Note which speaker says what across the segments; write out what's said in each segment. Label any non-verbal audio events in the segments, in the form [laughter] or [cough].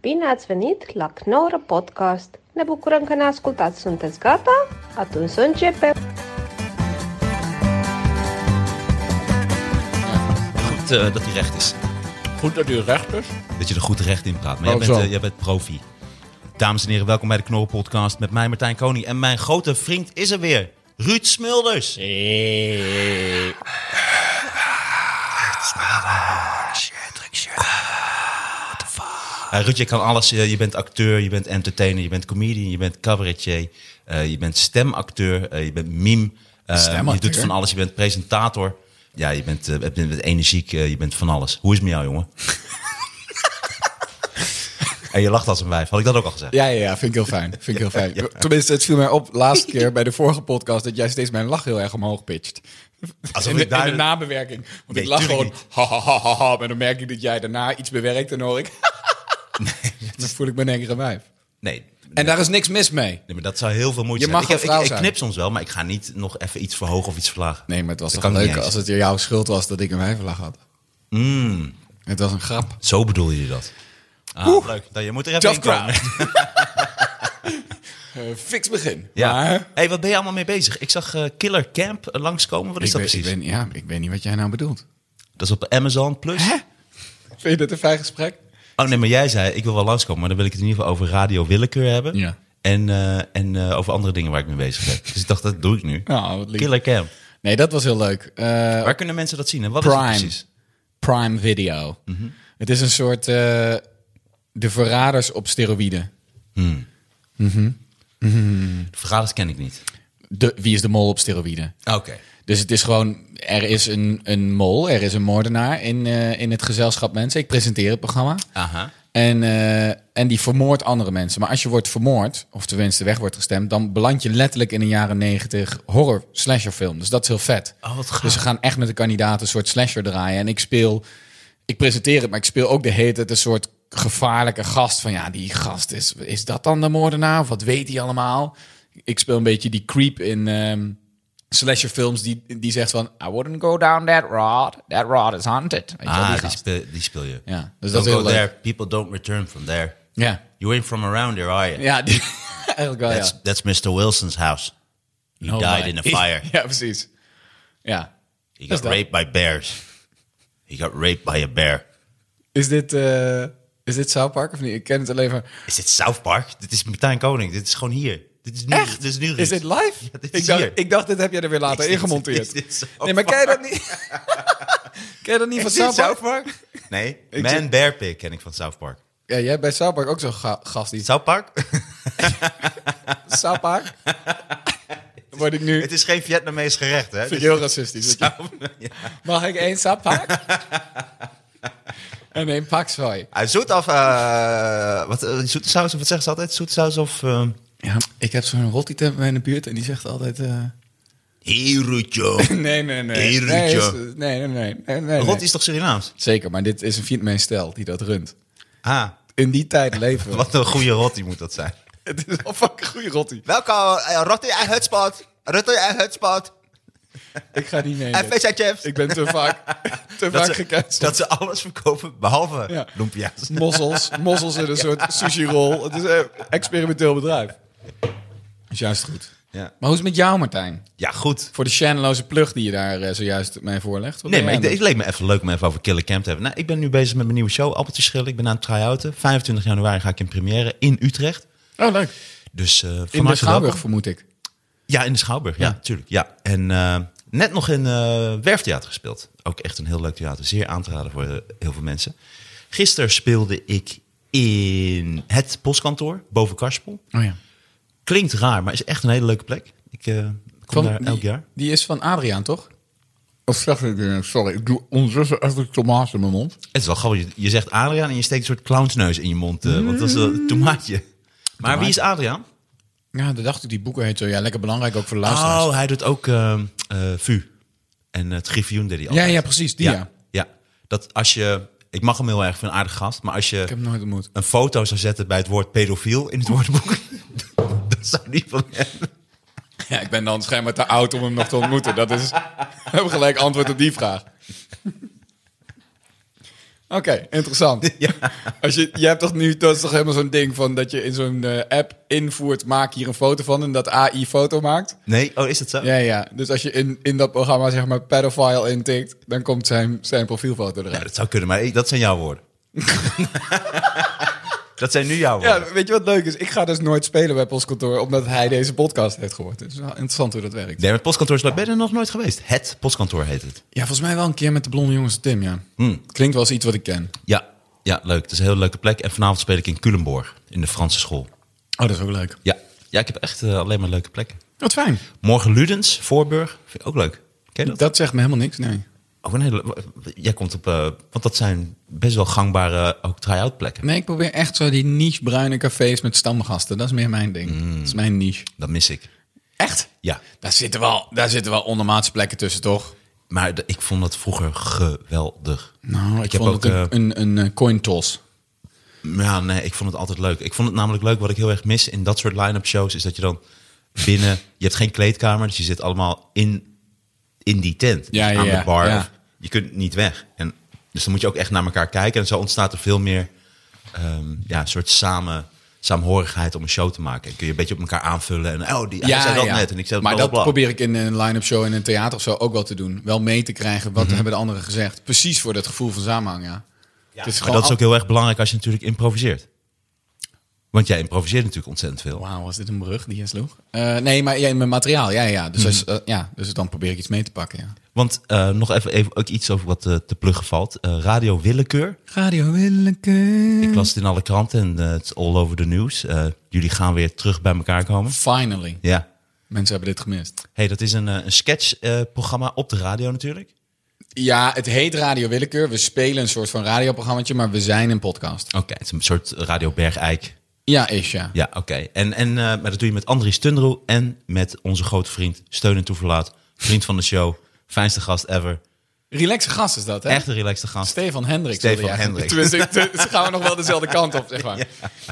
Speaker 1: Bine ați venit la Knorr Podcast! Ne bucurăm că ne ascultați! Sunteți gata? Atunci să începem!
Speaker 2: Goed eh, dat hij recht is.
Speaker 3: Goed dat u recht is.
Speaker 2: Dat je er goed recht in praat. Maar jij
Speaker 3: Oh,
Speaker 2: bent,
Speaker 3: zo.
Speaker 2: eh, jij bent profi. Dames en heren, welkom bij de Knorren Podcast met mij, Martijn Koning. En mijn grote vriend is er weer, Ruud Smulders. Eh, Ruud, je kan alles. eh, Je bent acteur, je bent entertainer, je bent comedian, je bent cabaretier, eh, je bent stemacteur, eh, je bent meme. eh, je
Speaker 3: Stemacteur?
Speaker 2: doet van alles, je bent presentator. Ja, je bent, eh, je bent energiek, eh, je bent van alles. Hoe is het met jou, jongen? en je lacht als een wijf, had ik dat ook al gezegd?
Speaker 3: Ja, ja, ja, vind ik heel fijn. Vind ik heel [laughs] fijn. Tenminste, het viel mij op laatste keer bij de vorige podcast dat jij steeds mijn lach heel erg omhoog pitcht.
Speaker 2: Alsof
Speaker 3: In de,
Speaker 2: ik daar-
Speaker 3: in de nabewerking. Want
Speaker 2: Nee,
Speaker 3: ik lach
Speaker 2: tuurlijk
Speaker 3: gewoon. Ha, ha, ha, ha, ha, maar dan merk ik dat jij daarna iets bewerkt en dan [laughs] hoor ik. [laughs] dan voel ik me een engere wijf.
Speaker 2: Nee.
Speaker 3: En daar is niks mis mee.
Speaker 2: Nee, maar dat zou heel veel moeite
Speaker 3: Je
Speaker 2: zijn.
Speaker 3: mag
Speaker 2: ik,
Speaker 3: wel
Speaker 2: heb- ik-
Speaker 3: vrouw
Speaker 2: ik,
Speaker 3: zijn.
Speaker 2: knip soms wel, maar ik ga niet nog even iets verhogen of iets verlagen.
Speaker 3: Nee, maar het was
Speaker 2: Dat
Speaker 3: toch
Speaker 2: kan ik
Speaker 3: leuk
Speaker 2: niet eens.
Speaker 3: als het jouw schuld was dat ik een wijvenlach had. Het was een grap.
Speaker 2: Zo bedoel je dat. Ah, leuk. Dan, je moet er even
Speaker 3: Tough
Speaker 2: in komen.
Speaker 3: crowd. Eh, fix begin.
Speaker 2: [laughs] Ja.
Speaker 3: Maar...
Speaker 2: hey, wat ben je allemaal mee bezig? Ik zag eh, Killer Camp eh, langskomen. Wat is
Speaker 3: Ik
Speaker 2: dat
Speaker 3: weet, ik,
Speaker 2: precies?
Speaker 3: weet, ja, ik weet niet wat jij nou bedoelt.
Speaker 2: Dat is op Amazon Plus.
Speaker 3: Vind je dat een fijn gesprek?
Speaker 2: Oh nee, maar jij zei, ik wil wel langskomen, maar dan wil ik het in ieder geval over radio willekeur hebben.
Speaker 3: Ja.
Speaker 2: En, eh, en eh, over andere dingen waar ik mee bezig ben. Dus ik dacht, dat doe ik nu.
Speaker 3: Nou, wat lief.
Speaker 2: Killer Camp.
Speaker 3: Nee, dat was heel leuk. Eh,
Speaker 2: Waar kunnen mensen dat zien? En wat is het
Speaker 3: Prime.
Speaker 2: precies?
Speaker 3: Prime Video. Het is een soort eh, de verraders op steroïden.
Speaker 2: De vergaders ken ik niet.
Speaker 3: De, wie is de mol op steroïden?
Speaker 2: Oké.
Speaker 3: Dus het is gewoon, er is een, een mol, er is een moordenaar in, eh, in het gezelschap mensen. Ik presenteer het programma.
Speaker 2: Aha.
Speaker 3: En, eh, en die vermoordt andere mensen. Maar als je wordt vermoord, of tenminste weg wordt gestemd, dan beland je letterlijk in een jaren negentig horror slasherfilm. Dus dat is heel vet.
Speaker 2: Oh, wat gaaf.
Speaker 3: dus ze gaan echt met de kandidaten een soort slasher draaien. En ik speel, ik presenteer het, maar ik speel ook de hele tijd een soort gevaarlijke gast. Van ja, die gast is, is dat dan de moordenaar? Of wat weet hij allemaal? Ik speel een beetje die creep in. ehm, Slasherfilms die, die zegt van... I wouldn't go down that road. That road is haunted. Weet je wel, die
Speaker 2: Ah, die
Speaker 3: gast.
Speaker 2: speel, die speel je.
Speaker 3: Ja,
Speaker 2: Don't
Speaker 3: dus dat is heel
Speaker 2: go
Speaker 3: leuk.
Speaker 2: there. People don't return from there.
Speaker 3: Ja,
Speaker 2: You ain't from around here, are you?
Speaker 3: ja die- [laughs] eigenlijk wel,
Speaker 2: That's,
Speaker 3: ja.
Speaker 2: that's Mr. Wilson's house. He
Speaker 3: Oh
Speaker 2: died
Speaker 3: my.
Speaker 2: in a fire.
Speaker 3: [laughs] Ja, precies. Ja.
Speaker 2: He
Speaker 3: Is
Speaker 2: got
Speaker 3: dat-
Speaker 2: raped by bears. He got raped by a bear.
Speaker 3: Is dit, eh, is dit South Park of niet? Ik ken het alleen van...
Speaker 2: Is dit South Park? Dit is Martijn Koning. Dit is gewoon hier. Dit is nu.
Speaker 3: Echt?
Speaker 2: Dit is nu.
Speaker 3: Is dit live?
Speaker 2: Ja, dit is
Speaker 3: ik, dacht,
Speaker 2: hier.
Speaker 3: ik dacht, dit heb jij er weer later
Speaker 2: Is dit-
Speaker 3: ingemonteerd.
Speaker 2: is dit South
Speaker 3: nee, maar ken je dat niet? ken je dat niet [laughs] van
Speaker 2: Is dit
Speaker 3: South Park?
Speaker 2: Nee.
Speaker 3: Ik
Speaker 2: Man
Speaker 3: zit-
Speaker 2: Bear Pig ken ik van South Park.
Speaker 3: Ja, jij hebt bij South Park ook zo'n ga- gast die...
Speaker 2: South
Speaker 3: [laughs]
Speaker 2: Park?
Speaker 3: South Park?
Speaker 2: [laughs]
Speaker 3: Dan word ik nu...
Speaker 2: Het is geen Vietnamees gerecht, hè?
Speaker 3: vind
Speaker 2: Dus-
Speaker 3: ik heel racistisch. dat je-
Speaker 2: Ja.
Speaker 3: Mag ik één
Speaker 2: [laughs]
Speaker 3: South Park? en één pak soy.
Speaker 2: Ah, Zoet of... eh, wat, eh, zoete saus, of wat zeggen ze altijd? Zoete saus of... eh,
Speaker 3: Ja, ik heb zo'n rottie bij in de buurt en die zegt altijd... eh,
Speaker 2: Herutjo.
Speaker 3: [laughs] Nee, nee, nee.
Speaker 2: Heerlijk,
Speaker 3: Nee, is-
Speaker 2: joh.
Speaker 3: nee, nee, nee. nee, nee,
Speaker 2: Rot
Speaker 3: nee.
Speaker 2: is toch Surinaams?
Speaker 3: Zeker, maar dit is een Vietnamese stijl die dat runt.
Speaker 2: Ah,
Speaker 3: In die tijd leven we.
Speaker 2: wat een goede rot die moet dat zijn. [laughs]
Speaker 3: Het is al fucking goede rotti.
Speaker 2: Welke uh, rotte en hutspot? Rotte en hutspot.
Speaker 3: Ik ga niet mee. dit.
Speaker 2: en chips.
Speaker 3: Ik ben
Speaker 2: [laughs]
Speaker 3: te vaak, te
Speaker 2: dat,
Speaker 3: vaak
Speaker 2: ze,
Speaker 3: gecanceld.
Speaker 2: dat ze alles verkopen behalve
Speaker 3: Ja.
Speaker 2: lumpia's.
Speaker 3: Mossels, mossels in een soort sushi-rol. Het is een experimenteel bedrijf. Is juist goed.
Speaker 2: Ja.
Speaker 3: Maar hoe is het met jou, Martijn?
Speaker 2: Ja, goed.
Speaker 3: Voor de channeloze plug die je daar eh, zojuist mij voorlegt. Wat
Speaker 2: Nee,
Speaker 3: ben
Speaker 2: maar
Speaker 3: jij
Speaker 2: ik,
Speaker 3: aan
Speaker 2: het leek me even leuk om even over Killer Camp te hebben. Nou, ik ben nu bezig met mijn nieuwe show, Appeltjes Schillen. Ik ben aan het try-outen. 25 januari ga ik in première in Utrecht.
Speaker 3: het doen? Oh, leuk.
Speaker 2: Dus, eh, van
Speaker 3: In de
Speaker 2: harte
Speaker 3: Schouwburg,
Speaker 2: welkom.
Speaker 3: vermoed ik.
Speaker 2: Ja, in de Schouwburg. Ja,
Speaker 3: Ja.
Speaker 2: tuurlijk. Ja. En eh, net nog in eh, Werftheater gespeeld. Ook echt een heel leuk theater. Zeer aan te raden voor eh, heel veel mensen. Gisteren speelde ik in het postkantoor boven Karspel.
Speaker 3: Oh ja.
Speaker 2: Klinkt raar, maar is echt een hele leuke plek. Ik eh, kom daar
Speaker 3: die,
Speaker 2: elk jaar.
Speaker 3: Die is van Adriaan, toch? Of zeg ik, eh, sorry, ik doe ondertussen echt een tomaat in mijn mond.
Speaker 2: Het is wel grappig. Je, je zegt Adriaan en je steekt een soort clownsneus in je mond. eh, Want dat is een tomaatje. Maar wie is Adriaan?
Speaker 3: Ja, dat dacht ik, die boeken heet zo. Ja, lekker belangrijk ook voor de luisteraars.
Speaker 2: Oh, hij doet ook eh, eh, VU. En het griffioen deed hij altijd.
Speaker 3: ja, precies, die,
Speaker 2: Oh. ja.
Speaker 3: ja.
Speaker 2: Ja. Dat als je... Ik mag hem heel erg van een aardige gast. Maar als
Speaker 3: Ik heb
Speaker 2: je
Speaker 3: hem nooit ontmoet.
Speaker 2: een foto zou zetten bij het woord pedofiel in het woordenboek... [laughs] dat zou niet van hem.
Speaker 3: Ja, ik ben dan schijnbaar te oud om hem nog te ontmoeten. Dat is... We hebben gelijk antwoord op die vraag. Oké, interessant. [laughs]
Speaker 2: Ja.
Speaker 3: Als je, je hebt toch nu dat is toch helemaal zo'n ding van dat je in zo'n eh, app invoert, maak hier een foto van en dat AI foto maakt.
Speaker 2: Nee, oh, is dat zo?
Speaker 3: Ja, ja. Dus als je in, in dat programma zeg maar pedophile intikt, dan komt zijn, zijn profielfoto
Speaker 2: Ja,
Speaker 3: eruit.
Speaker 2: dat zou kunnen, maar ik- dat zijn jouw
Speaker 3: [laughs]
Speaker 2: woorden. dat zijn nu jouw woorden.
Speaker 3: Ja, weet je wat leuk is? Ik ga dus nooit spelen bij Postkantoor, omdat hij deze podcast heeft gehoord. Het is wel interessant hoe dat werkt.
Speaker 2: Nee, maar het postkantoor is leuk. Ben je er nog nooit geweest? Het postkantoor heet het.
Speaker 3: Ja, volgens mij wel een keer met de blonde jongens Tim, ja. Klinkt wel eens iets wat ik ken.
Speaker 2: Ja, ja leuk. Het is een hele leuke plek. En vanavond speel ik in Culemborg, in de Franse school.
Speaker 3: Oh, dat is ook leuk.
Speaker 2: Ja, ja ik heb echt eh, alleen maar leuke plekken.
Speaker 3: Wat fijn.
Speaker 2: Morgen Ludens, Voorburg. Vind ik ook leuk. Ken je dat?
Speaker 3: Dat zegt me helemaal niks, nee.
Speaker 2: Ook een hele, jij komt op... eh, want dat zijn best wel gangbare eh, ook try-out plekken.
Speaker 3: Nee, ik probeer echt zo die niche bruine cafés met stamgasten. Dat is meer mijn ding.
Speaker 2: Mm.
Speaker 3: Dat is mijn niche.
Speaker 2: Dat mis ik.
Speaker 3: Echt?
Speaker 2: Ja.
Speaker 3: Daar zitten wel, daar zitten wel ondermaatse plekken tussen, toch?
Speaker 2: Maar de- ik vond dat vroeger geweldig.
Speaker 3: Nou, ik, vond het
Speaker 2: eh,
Speaker 3: een, een, een eh, coin toss.
Speaker 2: Ja, nee, ik vond het altijd leuk. Ik vond het namelijk leuk. Wat ik heel erg mis in dat soort line-up shows is dat je dan binnen, je hebt geen kleedkamer, dus je zit allemaal in, in die tent.
Speaker 3: Ja,
Speaker 2: Dus
Speaker 3: ja,
Speaker 2: aan
Speaker 3: ja,
Speaker 2: de bar.
Speaker 3: ja.
Speaker 2: Of- Je kunt niet weg. En, dus dan moet je ook echt naar elkaar kijken. En zo ontstaat er veel meer ehm, ja, een soort samen, saamhorigheid om een show te maken. En kun je een beetje op elkaar aanvullen. En oh, die hij zei dat net. En ik zei
Speaker 3: maar dat
Speaker 2: blablabla.
Speaker 3: probeer ik in een line-up show en een theater of zo ook wel te doen. Wel mee te krijgen, wat
Speaker 2: Mhm.
Speaker 3: hebben de anderen gezegd. Precies voor dat gevoel van samenhang, ja. Het
Speaker 2: Maar
Speaker 3: is gewoon
Speaker 2: dat is ook heel erg belangrijk als je natuurlijk improviseert. Want jij improviseert natuurlijk ontzettend veel.
Speaker 3: Wauw, was dit een brug die je sloeg? Eh, nee, maar ja, in mijn materiaal, ja, ja.
Speaker 2: Mhm.
Speaker 3: Dus, als, eh, ja. dus dan probeer ik iets mee te pakken, ja.
Speaker 2: Want eh, nog even, even ook iets over wat eh, te pluggen valt. Eh, Radio Willekeur.
Speaker 3: Radio Willeke.
Speaker 2: Ik las het in alle kranten en eh, het is all over the news. Eh, jullie gaan weer terug bij elkaar komen.
Speaker 3: Finally.
Speaker 2: Ja.
Speaker 3: Mensen hebben dit gemist.
Speaker 2: hey, dat is een, eh, een sketchprogramma op de radio natuurlijk.
Speaker 3: Ja, het heet Radio Willekeur. We spelen een soort van radioprogrammaatje, maar we zijn een podcast.
Speaker 2: Oké, het is een soort Radio Bergijk.
Speaker 3: Ja, is ja.
Speaker 2: Ja, oké. En, en eh, maar dat doe je met Andries Tundro en met onze grote vriend Steun en Toeverlaat. Vriend van de show, fijnste gast ever.
Speaker 3: Relaxe gast is dat, hè?
Speaker 2: Echt een relaxte gast.
Speaker 3: Stefan Hendricks.
Speaker 2: Stefan
Speaker 3: wilde je eigenlijk-
Speaker 2: Hendricks.
Speaker 3: [laughs] Tenminste, ze gaan we nog wel
Speaker 2: [laughs]
Speaker 3: dezelfde kant op, zeg maar.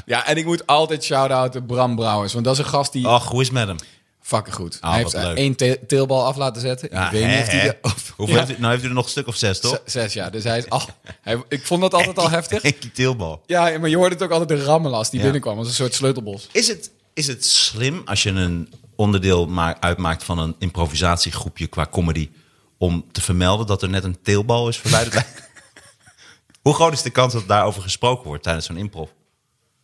Speaker 3: Ja, en ik moet altijd shout-outen Bram Brouwers. Want dat is een gast die...
Speaker 2: Ach, hoe is het met hem?
Speaker 3: Fucking goed.
Speaker 2: Oh. Ah,
Speaker 3: hij
Speaker 2: wat
Speaker 3: heeft eh,
Speaker 2: leuk.
Speaker 3: één te- teelbal af laten zetten.
Speaker 2: Ja,
Speaker 3: ik weet niet
Speaker 2: hè,
Speaker 3: of hij...
Speaker 2: hè?
Speaker 3: de- of-
Speaker 2: Hoeveel
Speaker 3: Ja,
Speaker 2: heeft u- nou heeft u er nog een stuk of zes, toch?
Speaker 3: z- Zes jaar. Dus hij is al... Hij, ik vond dat
Speaker 2: [laughs]
Speaker 3: altijd al heftig.
Speaker 2: Eén keer teelbal.
Speaker 3: Ja, maar je hoorde het ook altijd de rammel als die
Speaker 2: Ja.
Speaker 3: binnenkwam. Als een soort sleutelbos.
Speaker 2: Is het, is het slim als je een onderdeel ma- uitmaakt van een improvisatiegroepje qua comedy... om te vermelden dat er net een teelbal is verwijderd? Bij-
Speaker 3: [laughs]
Speaker 2: Hoe groot is de kans dat daarover gesproken wordt tijdens zo'n improv?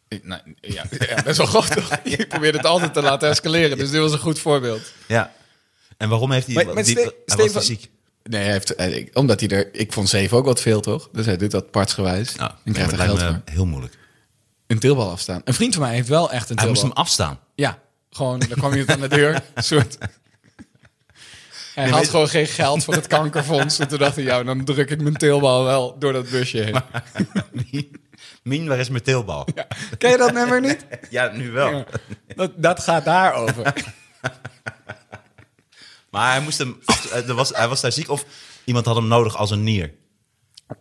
Speaker 3: Ik- nou, ja, [laughs] ja, best wel groot toch? Je probeert het altijd te laten escaleren. Dus dit was een goed voorbeeld.
Speaker 2: Ja. En waarom heeft hij...
Speaker 3: Maar- maar
Speaker 2: die-
Speaker 3: Ste-
Speaker 2: hij was
Speaker 3: Stefan-
Speaker 2: fysiek.
Speaker 3: Nee, hij heeft, eh, ik- omdat hij er... Ik vond zeven ook wat veel, toch? Dus hij doet dat partsgewijs.
Speaker 2: Nou,
Speaker 3: en
Speaker 2: nee,
Speaker 3: krijgt
Speaker 2: maar
Speaker 3: er
Speaker 2: het
Speaker 3: geld
Speaker 2: lijkt
Speaker 3: voor.
Speaker 2: me heel moeilijk.
Speaker 3: Een teelbal afstaan. Een vriend van mij heeft wel echt een
Speaker 2: Hij moest
Speaker 3: teelbal.
Speaker 2: hem afstaan.
Speaker 3: Ja, gewoon, dan kwam iemand aan de deur. Een soort... Hij had
Speaker 2: weet-
Speaker 3: gewoon geen geld voor het kankerfonds. En toen dacht hij, ja, dan druk ik mijn teelbal wel door dat busje heen.
Speaker 2: Mien, waar is mijn teelbal? Ja,
Speaker 3: Ken je dat nummer niet?
Speaker 2: nu wel.
Speaker 3: Dat, dat gaat daarover.
Speaker 2: Maar hij moest hem... af- eh, er was, hij was daar ziek of iemand had hem nodig als een nier.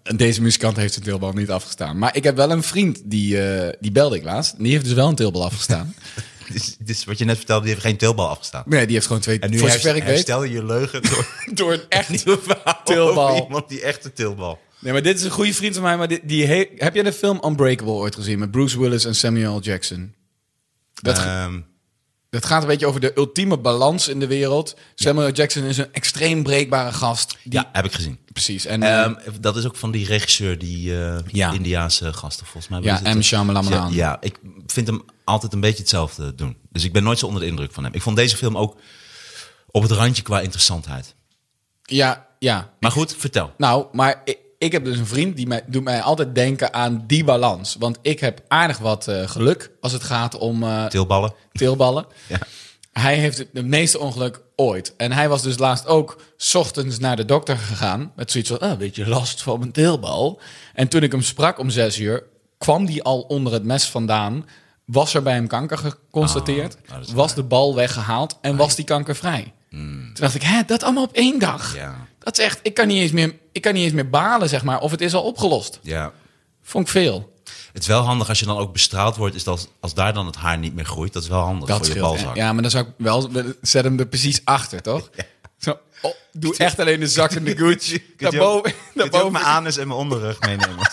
Speaker 2: [laughs]
Speaker 3: Deze muzikant heeft zijn teelbal niet afgestaan. Maar ik heb wel een vriend, die, eh, die belde ik laatst. Die heeft dus wel een teelbal afgestaan.
Speaker 2: Dus, dus wat je net vertelde, die heeft geen teelbal afgestaan.
Speaker 3: Nee, die heeft gewoon twee...
Speaker 2: En nu
Speaker 3: voor
Speaker 2: herst-
Speaker 3: zover ik weet,
Speaker 2: herstel je je leugen door...
Speaker 3: [laughs] door een echt...
Speaker 2: [laughs] nieuwe verhaal
Speaker 3: Tilbal.
Speaker 2: over iemand die echt een tilbal.
Speaker 3: Nee, maar dit is een goede vriend van mij. Maar dit- die he- Heb jij de film Unbreakable ooit gezien? Met Bruce Willis en Samuel L. Jackson. Dat,
Speaker 2: Ehm,
Speaker 3: Het gaat een beetje over de ultieme balans in de wereld. Samuel Jackson is een extreem breekbare gast. Die,
Speaker 2: ja, heb ik gezien.
Speaker 3: Precies. En, eh,
Speaker 2: Ehm, dat is ook van die regisseur, die eh,
Speaker 3: Ja.
Speaker 2: Indiaanse gasten volgens mij.
Speaker 3: Ja,
Speaker 2: Wie is het?
Speaker 3: M. Shyamalan.
Speaker 2: Ja, ja, ik vind hem altijd een beetje hetzelfde doen. Dus ik ben nooit zo onder de indruk van hem. Ik vond deze film ook op het randje qua interessantheid.
Speaker 3: ja, ja.
Speaker 2: Maar goed, vertel.
Speaker 3: Nou, maar ik, ik heb dus een vriend die mij, doet mij altijd denken aan die balans. Want ik heb aardig wat eh, geluk als het gaat om eh,
Speaker 2: Tilballen.
Speaker 3: teelballen.
Speaker 2: Ja.
Speaker 3: Hij heeft het meeste ongeluk ooit. En hij was dus laatst ook 's ochtends naar de dokter gegaan. Met zoiets van, ah, een beetje last van mijn deelbal. En toen ik hem sprak om zes uur, kwam die al onder het mes vandaan. Was er bij hem kanker geconstateerd.
Speaker 2: Ah, nou, dat is Ah,
Speaker 3: was de bal weggehaald en was die kankervrij. Toen dacht ik, hè, dat allemaal op één dag.
Speaker 2: Hmm. Ja.
Speaker 3: Dat is echt, ik kan, niet eens meer, ik kan niet eens meer balen, zeg maar. Of het is al opgelost.
Speaker 2: Ja.
Speaker 3: Vond ik veel.
Speaker 2: Het is wel handig als je dan ook bestraald wordt, is dat als daar dan het haar niet meer groeit, dat is wel handig
Speaker 3: Dat
Speaker 2: voor je
Speaker 3: scheelt, hè?
Speaker 2: balzak. [laughs]
Speaker 3: Ja, maar dan zou ik wel... Zet hem er precies achter, toch? Zo, oh, doe echt alleen de zak in de Gucci. Daarboven.
Speaker 2: Kunt je ook mijn
Speaker 3: daarboven.
Speaker 2: anus en mijn onderrug meenemen?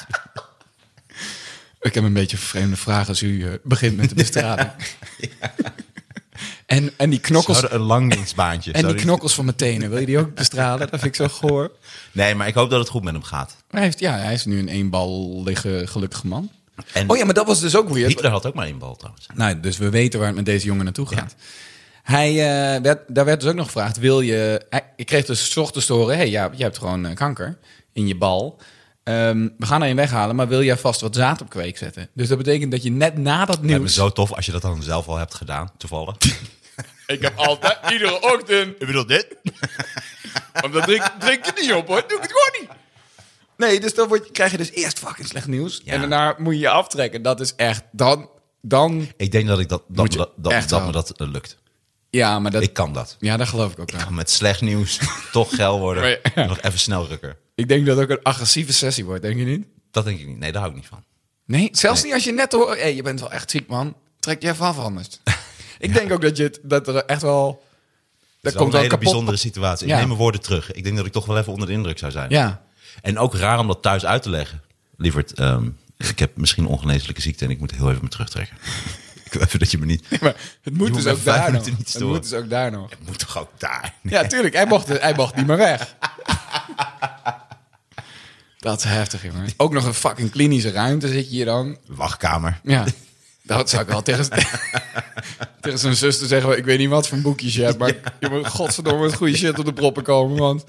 Speaker 3: Ik heb een beetje een vreemde vraag als u eh,
Speaker 2: [laughs]
Speaker 3: begint met de bestraling. en, en die knokkels,
Speaker 2: Zouden een landingsbaantje.
Speaker 3: en die
Speaker 2: zouden-
Speaker 3: knokkels van mijn tenen, wil je die ook bestralen? Dat vind
Speaker 2: [laughs]
Speaker 3: ik zo goor.
Speaker 2: Nee, maar ik hoop dat het goed met hem gaat.
Speaker 3: Maar Hij heeft, ja, hij is nu een eenbal liggen gelukkige man.
Speaker 2: En
Speaker 3: Oh ja, maar dat was dus ook weer.
Speaker 2: Hitler had ook maar één bal trouwens.
Speaker 3: Nou, dus we weten waar het met deze jongen naartoe gaat. Hij, eh, werd, daar werd dus ook nog gevraagd, wil je... Hij, ik kreeg dus 's ochtends te horen, hey, ja, je hebt gewoon eh, kanker in je bal. Ehm, we gaan er een weghalen, maar wil jij vast wat zaad op kweek zetten? Dus dat betekent dat je net na dat
Speaker 2: Lijkt me
Speaker 3: nieuws...
Speaker 2: zo tof als je dat dan zelf al hebt gedaan,
Speaker 3: [laughs]
Speaker 2: toevallig.
Speaker 3: Ik heb altijd, iedere ochtend,
Speaker 2: Ik bedoel dit?
Speaker 3: want dat drink, drink je niet op hoor, doe ik het gewoon niet. Nee, dus dan word je, krijg je dus eerst fucking slecht nieuws.
Speaker 2: Ja.
Speaker 3: En daarna moet je je aftrekken. Dat is echt, dan, dan...
Speaker 2: Ik denk dat ik dat, dat,
Speaker 3: Moet je
Speaker 2: dat, dat,
Speaker 3: echt
Speaker 2: dat
Speaker 3: wel.
Speaker 2: me dat eh, lukt.
Speaker 3: Ja, maar dat...
Speaker 2: Ik kan dat.
Speaker 3: ja, dat geloof ik ook wel.
Speaker 2: Met slecht nieuws [laughs] toch geil worden.
Speaker 3: Maar ja.
Speaker 2: Nog even snel rukker.
Speaker 3: Ik denk dat het ook een agressieve sessie wordt, denk je niet?
Speaker 2: Dat denk ik niet. Nee, daar hou ik niet van.
Speaker 3: Nee, zelfs niet als je net hoort... Hey, je bent wel echt ziek, man. Trek je even af
Speaker 2: [laughs]
Speaker 3: anders. Ik denk ook dat, je, het- dat er echt wel...
Speaker 2: Dat is wel
Speaker 3: Dat komt
Speaker 2: een
Speaker 3: wel
Speaker 2: hele
Speaker 3: kapot.
Speaker 2: bijzondere situatie. Ik
Speaker 3: Ja.
Speaker 2: neem mijn woorden terug. Ik denk dat ik toch wel even onder de indruk zou zijn.
Speaker 3: Ja.
Speaker 2: [laughs] En ook raar om dat thuis uit te leggen. Lieverd, ehm, ik heb misschien ongeneeslijke ziekte en ik moet heel even me terugtrekken. [laughs] ik wil even dat je me
Speaker 3: [laughs]
Speaker 2: niet...
Speaker 3: Maar het moet
Speaker 2: Je
Speaker 3: dus
Speaker 2: hoeft
Speaker 3: ook
Speaker 2: mij vijf
Speaker 3: daar nog.
Speaker 2: minuten niet te
Speaker 3: Het
Speaker 2: storen.
Speaker 3: moet dus ook daar
Speaker 2: [laughs]
Speaker 3: nog.
Speaker 2: moet toch ook daar?
Speaker 3: Ja, tuurlijk. Hij mocht, hij mocht niet meer
Speaker 2: [laughs]
Speaker 3: weg. Dat is heftig, jongen. Ook nog een fucking klinische ruimte zit je hier dan.
Speaker 2: Wachtkamer.
Speaker 3: Ja. Dat zou ik wel tegen,
Speaker 2: [laughs]
Speaker 3: tegen zijn zuster zeggen. Ik weet niet wat voor boekjes je hebt,
Speaker 2: [laughs]
Speaker 3: maar je moet godverdomme met goede shit op de proppen komen. Want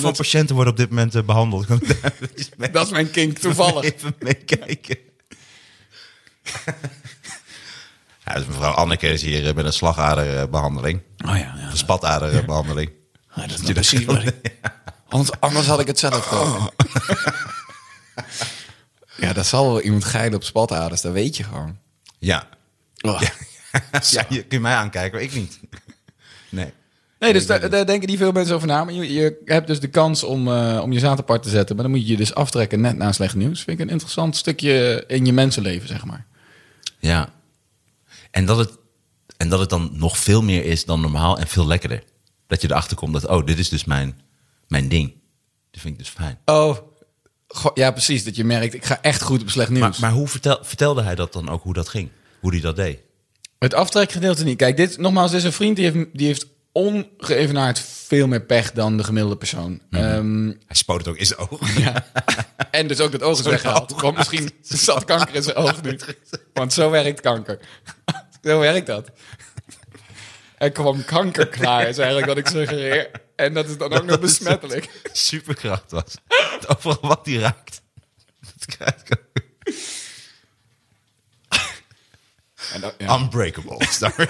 Speaker 2: Wat voor patiënten worden op dit moment eh, behandeld? Kan [laughs] ik daar even mee-
Speaker 3: dat is mijn kink toevallig.
Speaker 2: Even meekijken. [laughs] ja, dus mevrouw Anneke is hier eh, met een slagaderbehandeling.
Speaker 3: Oh ja, ja.
Speaker 2: Een spataderbehandeling.
Speaker 3: Ja, dat is nou precies wat ik... Anders, anders had ik het zelf gewoon. [laughs] Ja, dat zal wel iemand geilen op spataders, dat weet je gewoon.
Speaker 2: [laughs] Ja. Ah.
Speaker 3: Oh.
Speaker 2: [laughs] ja, je kunt mij aankijken, maar ik niet. [laughs] Nee.
Speaker 3: Nee, dus daar, daar denken niet veel mensen over na. Maar je, je hebt dus de kans om, eh, om je zaad apart te zetten. Maar dan moet je je dus aftrekken net na slecht nieuws. Vind ik een interessant stukje in je mensenleven, zeg maar.
Speaker 2: Ja. En dat, het, en dat het dan nog veel meer is dan normaal en veel lekkerder. Dat je erachter komt dat, oh, dit is dus mijn, mijn ding. Dat vind ik dus fijn.
Speaker 3: Oh, Goh, ja precies. Dat je merkt, ik ga echt goed op slecht nieuws.
Speaker 2: Maar, maar hoe vertel, vertelde hij dat dan ook, hoe dat ging? Hoe hij dat deed?
Speaker 3: Het aftrekgedeelte niet. Kijk, dit, nogmaals, dit is een vriend die heeft, die heeft ongeëvenaard veel meer pech dan de gemiddelde persoon. Ehm,
Speaker 2: Hij spoot het ook in zijn ogen. [laughs]
Speaker 3: en dus ook dat oog is weggehaald. Want [laughs] misschien zat kanker in zijn oog nu. Want zo werkt kanker. [laughs] zo werkt dat. Er kwam kanker klaar, is eigenlijk wat ik suggereer. En dat is dan ook nog
Speaker 2: is het.
Speaker 3: besmettelijk.
Speaker 2: superkracht was. Dat Overal wat hij raakt. Dat krijgt ook.
Speaker 3: En dat- ja.
Speaker 2: Unbreakable. Sorry.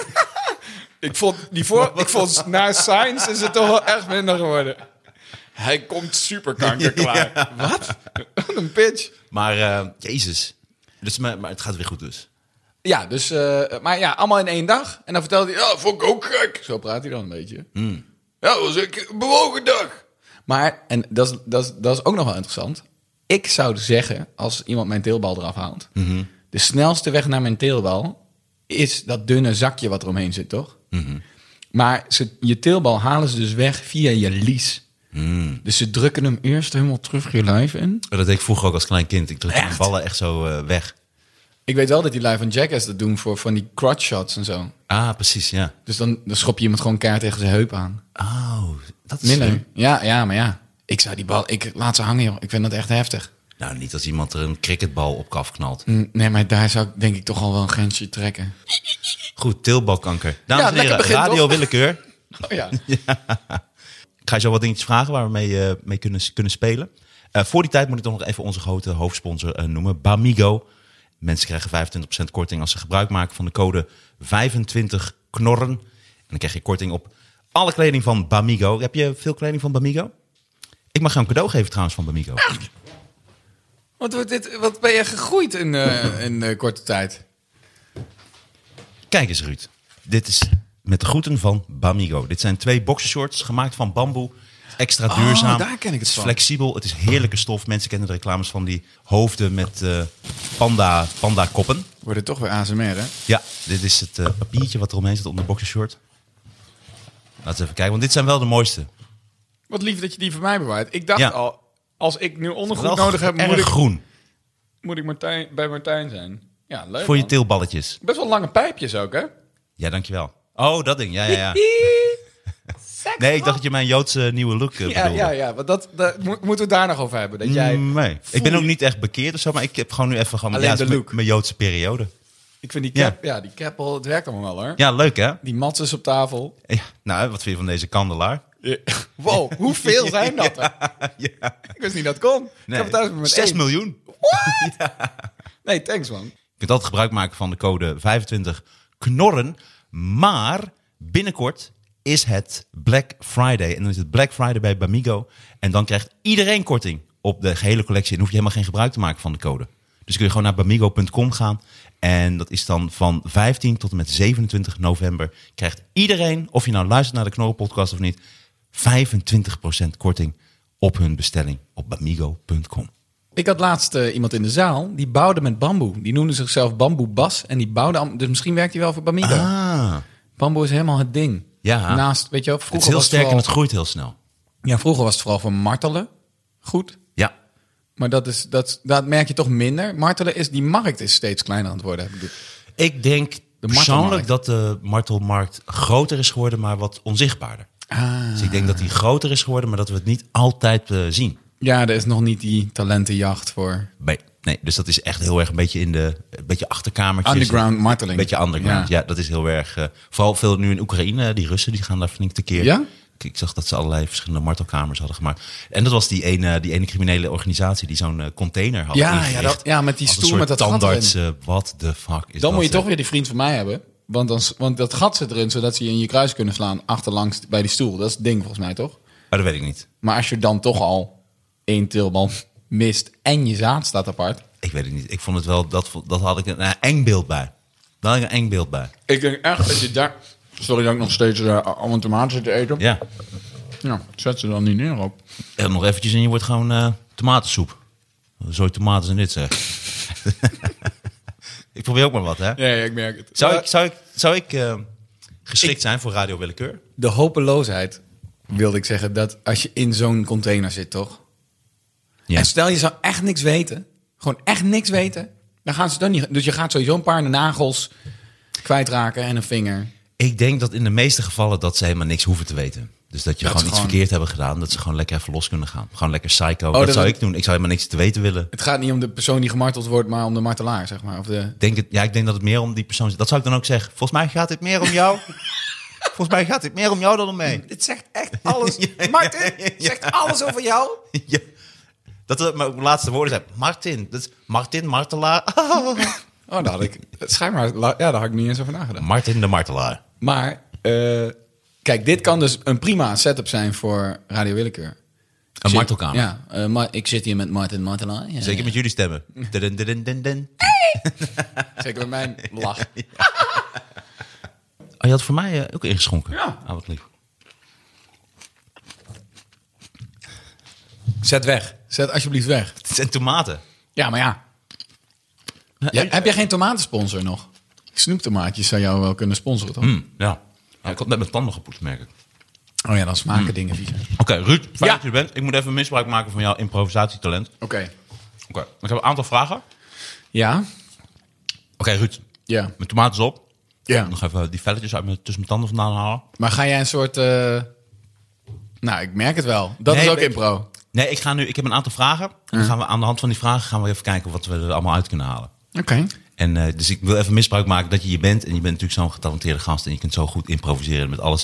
Speaker 3: Ik vond, die voor, ik vond na Science is het toch wel echt minder geworden. Hij komt superkanker [laughs] klaar. Wat? Wat een pitch.
Speaker 2: [laughs] maar eh, Jezus. Dus, maar, maar het gaat weer goed dus.
Speaker 3: Ja, dus, eh, maar ja, allemaal in één dag. En dan vertelt hij, ja, vond ik ook gek. Zo praat hij dan een beetje. Ja, was ik een bewogen dag. Maar, en dat is, dat, is, dat is ook nog wel interessant. Ik zou zeggen, als iemand mijn teelbal eraf haalt... de snelste weg naar mijn teelbal is dat dunne zakje wat eromheen zit, toch? Maar ze, je teelbal halen ze dus weg via je lies. Dus ze drukken hem eerst helemaal terug je lijf in.
Speaker 2: Oh, Dat deed ik vroeger ook als klein kind. Ik drukte mijn
Speaker 3: Echt?
Speaker 2: ballen echt zo eh, weg.
Speaker 3: Ik weet wel dat die lijf van Jackass dat doen voor van die crotch shots en zo.
Speaker 2: Ah, precies, ja.
Speaker 3: Dus dan, dan schop je iemand gewoon keihard tegen zijn heup aan.
Speaker 2: Oh, dat is...
Speaker 3: Minder. Ja, ja, maar ja. Ik zou die bal... Ik laat ze hangen, joh. Ik vind dat echt heftig.
Speaker 2: Nou, niet als iemand er een cricketbal op kaf knalt.
Speaker 3: Mm, Nee, maar daar zou ik denk ik toch al wel een grensje trekken.
Speaker 2: Goed, teelbalkanker. Dames
Speaker 3: Ja,
Speaker 2: en
Speaker 3: lekker
Speaker 2: heren,
Speaker 3: begin,
Speaker 2: radio
Speaker 3: toch?
Speaker 2: willekeur.
Speaker 3: [laughs] Oh ja.
Speaker 2: Ik ga je zo wat dingetjes vragen waar we mee, eh, mee kunnen, kunnen spelen. Eh, voor die tijd moet ik toch nog even onze grote hoofdsponsor eh, noemen, Bamigo. Mensen krijgen 25% korting als ze gebruik maken van de code 25knorren. En dan krijg je korting op alle kleding van Bamigo. Heb je veel kleding van Bamigo? Ik mag jou een cadeau geven trouwens van Bamigo.
Speaker 3: Wat, wordt dit, wat ben je gegroeid in, [laughs] eh, in eh, korte tijd?
Speaker 2: Kijk eens Ruud, dit is met de groeten van Bamigo. Dit zijn twee boxershorts gemaakt van bamboe. Extra duurzaam.
Speaker 3: Ah, daar ken ik het van.
Speaker 2: is flexibel, het is heerlijke stof. Mensen kennen de reclames van die hoofden met eh, panda, panda koppen.
Speaker 3: Wordt het toch weer ASMR, hè?
Speaker 2: Ja, dit is het eh, papiertje wat eromheen zit om de boxershort. Laten we even kijken, want dit zijn wel de mooiste.
Speaker 3: Wat lief dat je die voor mij bewaart. Ik dacht
Speaker 2: Ja.
Speaker 3: al, als ik nu ondergoed
Speaker 2: Wel
Speaker 3: nodig heb,
Speaker 2: erg
Speaker 3: moet ik,
Speaker 2: groen
Speaker 3: moet ik Martijn, bij Martijn zijn. Ja, leuk
Speaker 2: voor je
Speaker 3: man.
Speaker 2: teelballetjes.
Speaker 3: Best wel lange pijpjes ook, hè?
Speaker 2: Ja, dankjewel. Oh, dat ding. Ja, ja,
Speaker 3: [laughs]
Speaker 2: ja.
Speaker 1: Seks,
Speaker 2: [laughs] Nee, ik dacht dat je mijn Joodse nieuwe look eh,
Speaker 3: Ja,
Speaker 2: bedoelde.
Speaker 3: ja, ja. Want dat, dat mo- moeten we het daar nog over hebben. Dat jij,
Speaker 2: Mm, nee. Ik ben ook niet echt bekeerd of zo, maar ik heb gewoon nu even gewoon
Speaker 3: Alleen
Speaker 2: ja,
Speaker 3: de
Speaker 2: het is
Speaker 3: look.
Speaker 2: Mijn, mijn Joodse periode.
Speaker 3: Ik vind die
Speaker 2: Ja.
Speaker 3: cap, ja, die cap al, het werkt allemaal wel, hoor.
Speaker 2: Ja, leuk hè?
Speaker 3: Die mat is op tafel.
Speaker 2: Ja, nou, wat vind je van deze kandelaar? [laughs]
Speaker 3: Wow, hoeveel zijn dat er?
Speaker 2: Ja.
Speaker 3: Ik wist niet dat het kon. ik heb het thuis met
Speaker 2: 6
Speaker 3: één.
Speaker 2: miljoen.
Speaker 3: Nee, thanks man.
Speaker 2: Je kunt altijd gebruik maken van de code 25 knorren. Maar binnenkort is het Black Friday. En dan is het Black Friday bij Bamigo. En dan krijgt iedereen korting op de gehele collectie. En dan hoef je helemaal geen gebruik te maken van de code. Dus kun je gewoon naar bamigo.com gaan. En dat is dan van 15 tot en met 27 november. Krijgt iedereen, of je nou luistert naar de Knorrenpodcast of niet, 25% korting op hun bestelling op bamigo.com.
Speaker 3: Ik had laatst eh, iemand in de zaal, die bouwde met bamboe. Die noemde zichzelf Bamboe Bas en die bouwde... am- Dus misschien werkt hij wel voor Bamigo.
Speaker 2: Ah,
Speaker 3: Bamboe is helemaal het ding.
Speaker 2: Ja.
Speaker 3: Naast, weet je wel,
Speaker 2: het is
Speaker 3: vroeger
Speaker 2: heel
Speaker 3: was
Speaker 2: sterk en
Speaker 3: vooral,
Speaker 2: het groeit heel snel.
Speaker 3: Ja, vroeger was het vooral voor martelen goed.
Speaker 2: Ja,
Speaker 3: Maar dat, is, dat, dat merk je toch minder. Martelen is, die markt is steeds kleiner aan het worden. heb ik dit-
Speaker 2: Ik denk persoonlijk
Speaker 3: martelmarkt.
Speaker 2: dat de martelmarkt groter is geworden, maar wat onzichtbaarder.
Speaker 3: Ah.
Speaker 2: Dus ik denk dat die groter is geworden, maar dat we het niet altijd eh, zien.
Speaker 3: Ja, er is nog niet die talentenjacht voor
Speaker 2: Nee, nee, dus dat is echt heel erg een beetje in de een beetje achterkamertjes.
Speaker 3: underground
Speaker 2: Een
Speaker 3: marteling.
Speaker 2: beetje underground,
Speaker 3: Ja.
Speaker 2: ja. dat is heel erg... eh, vooral veel nu in Oekraïne, die Russen, die gaan daar flink tekeer.
Speaker 3: Ja?
Speaker 2: Ik, ik zag dat ze allerlei verschillende martelkamers hadden gemaakt. En dat was die ene, die ene criminele organisatie die zo'n eh, container had
Speaker 3: Ja,
Speaker 2: ingericht.
Speaker 3: ja, dat- ja, met die
Speaker 2: Als een
Speaker 3: stoel
Speaker 2: soort
Speaker 3: met dat gat
Speaker 2: tandarts, eh, What the fuck is
Speaker 3: Dan moet je
Speaker 2: dat,
Speaker 3: toch weer die vriend van mij hebben. Want, dan, s- want dat gat zit erin, zodat ze je in je kruis kunnen slaan achterlangs bij die stoel. Dat is het ding volgens mij, toch?
Speaker 2: eh? Maar dat weet ik niet.
Speaker 3: Maar als je dan toch al één tilbal [laughs] mist en je zaad staat apart.
Speaker 2: Ik weet het niet. Ik vond het wel, dat, vo- dat had ik een eh, eng beeld bij. Daar had ik een eng beeld bij.
Speaker 3: Ik denk echt dat je daar... Sorry dat ik nog steeds uh, allemaal tomaten zit te eten.
Speaker 2: Ja.
Speaker 3: Ja, zet ze dan niet neer op.
Speaker 2: En nog eventjes en je wordt gewoon eh, tomatensoep. Zo tomaten en dit zeg. [laughs] ik probeer ook maar wat, hè.
Speaker 3: Nee, ik merk het. Eh,
Speaker 2: Zou ik, zou ik, zou ik eh, geschikt zijn voor Radio Willekeur?
Speaker 3: De hopeloosheid, wilde ik zeggen, dat als je in zo'n container zit, toch?
Speaker 2: Ja.
Speaker 3: En stel je zou echt niks weten, gewoon echt niks weten, dan gaan ze dan niet. Dus je gaat sowieso een paar nagels kwijtraken en een vinger.
Speaker 2: Ik denk dat in de meeste gevallen dat ze helemaal niks hoeven te weten. Dus dat je
Speaker 3: Dat
Speaker 2: gewoon
Speaker 3: ze
Speaker 2: iets
Speaker 3: gewoon-
Speaker 2: verkeerd hebben gedaan. Dat ze gewoon lekker even los kunnen gaan. Gewoon lekker psycho. dat,
Speaker 3: dat
Speaker 2: zou
Speaker 3: het-
Speaker 2: ik doen. Ik zou helemaal niks te weten willen.
Speaker 3: Het gaat niet om de persoon die gemarteld wordt, maar om de martelaar, zeg maar. Of de...
Speaker 2: Ik Denk het, ja, ik denk dat het meer om die persoon zit. Dat zou ik dan ook zeggen. Volgens mij gaat dit meer om jou. [laughs] Volgens mij gaat dit meer om jou dan om mij.
Speaker 3: Het zegt echt [laughs] alles. Martin, zegt alles over jou.
Speaker 2: Ja. Dat we mijn laatste woorden zijn. Martin. Dat is Martin Martelaar.
Speaker 3: Oh, dat had ik. Schijnbaar, la- ja, daar had ik niet eens over nagedacht.
Speaker 2: [laughs] Martin de Martelaar.
Speaker 3: Maar, eh, kijk, dit kan dus een prima setup zijn voor Radio Willekeur.
Speaker 2: Een
Speaker 3: Zit-
Speaker 2: martelkamer.
Speaker 3: Ja, eh, Mar- ik zit hier met Martin Martelaar. Ja,
Speaker 2: Zeker met jullie stemmen. Dun, dun, dun, dun, dun.
Speaker 3: ja. Zeker met mijn
Speaker 2: [laughs]
Speaker 3: lach.
Speaker 2: Oh, je had voor mij eh, ook ingeschonken.
Speaker 3: Ja.
Speaker 2: Ah, wat lief.
Speaker 3: Zet weg. Zet alsjeblieft weg.
Speaker 2: Het zijn tomaten.
Speaker 3: Ja, maar ja. Ja, heb jij geen tomatensponsor nog? Snoeptomaatjes zou jou wel kunnen sponsoren, toch?
Speaker 2: Hm, ja. Nou, ik had net mijn tanden gepoetst, merk ik.
Speaker 3: Oh ja, dan smaken dingen viezer. Oké.
Speaker 2: Oké, Ruud. Fijn
Speaker 3: Ja.
Speaker 2: dat je er bent. Ik moet even misbruik maken van jouw improvisatietalent. Oké. Ik heb een aantal vragen. Oké,
Speaker 3: Ja?
Speaker 2: Ruud.
Speaker 3: Ja.
Speaker 2: Mijn tomaten is op.
Speaker 3: Ja.
Speaker 2: Nog even die velletjes uit mijn, tussen mijn tanden vandaan halen.
Speaker 3: Maar ga jij een soort... eh, Nou, ik merk het wel. Dat
Speaker 2: Nee,
Speaker 3: is ook
Speaker 2: ik-
Speaker 3: impro.
Speaker 2: Nee, ik, ga nu, ik heb een aantal vragen. En dan gaan we aan de hand van die vragen gaan we even kijken wat we er allemaal uit kunnen halen.
Speaker 3: Oké.
Speaker 2: En, eh, dus ik wil even misbruik maken dat je hier bent. En je bent natuurlijk zo'n getalenteerde gast. En je kunt zo goed improviseren met alles.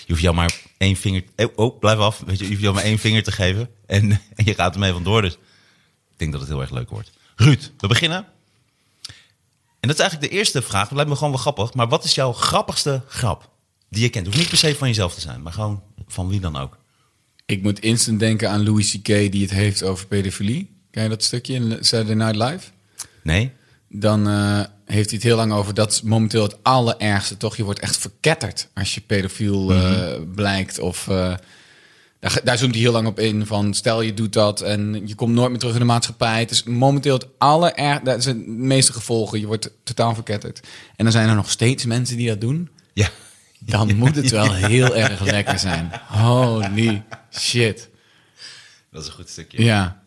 Speaker 2: Je hoeft jou maar één vinger... Oh, oh, blijf af. Weet je, je hoeft jou maar één vinger te geven. En, [laughs] en je gaat ermee vandoor. Dus ik denk dat het heel erg leuk wordt. Ruud, we beginnen. En dat is eigenlijk de eerste vraag. Dat lijkt me gewoon wel grappig. Maar wat is jouw grappigste grap die je kent? Het hoeft niet per se van jezelf te zijn. Maar gewoon van wie dan ook.
Speaker 3: Ik moet instant denken aan Louis C.K. die het heeft over pedofilie. Ken je dat stukje in Saturday Night Live?
Speaker 2: Nee?
Speaker 3: Dan eh, heeft hij het heel lang over. Dat is momenteel het allerergste, toch? Je wordt echt verketterd als je pedofiel eh, blijkt. Of, eh, daar, daar zoomt hij heel lang op in. Van stel je doet dat en je komt nooit meer terug in de maatschappij. Het is momenteel het allerergste. Dat zijn de
Speaker 2: [laughs]
Speaker 3: meeste gevolgen. Je wordt totaal verketterd. En dan zijn er nog steeds mensen die dat doen.
Speaker 2: Ja.
Speaker 3: Dan moet het wel heel erg lekker zijn. Holy shit.
Speaker 2: Dat is een goed stukje.
Speaker 3: Ja.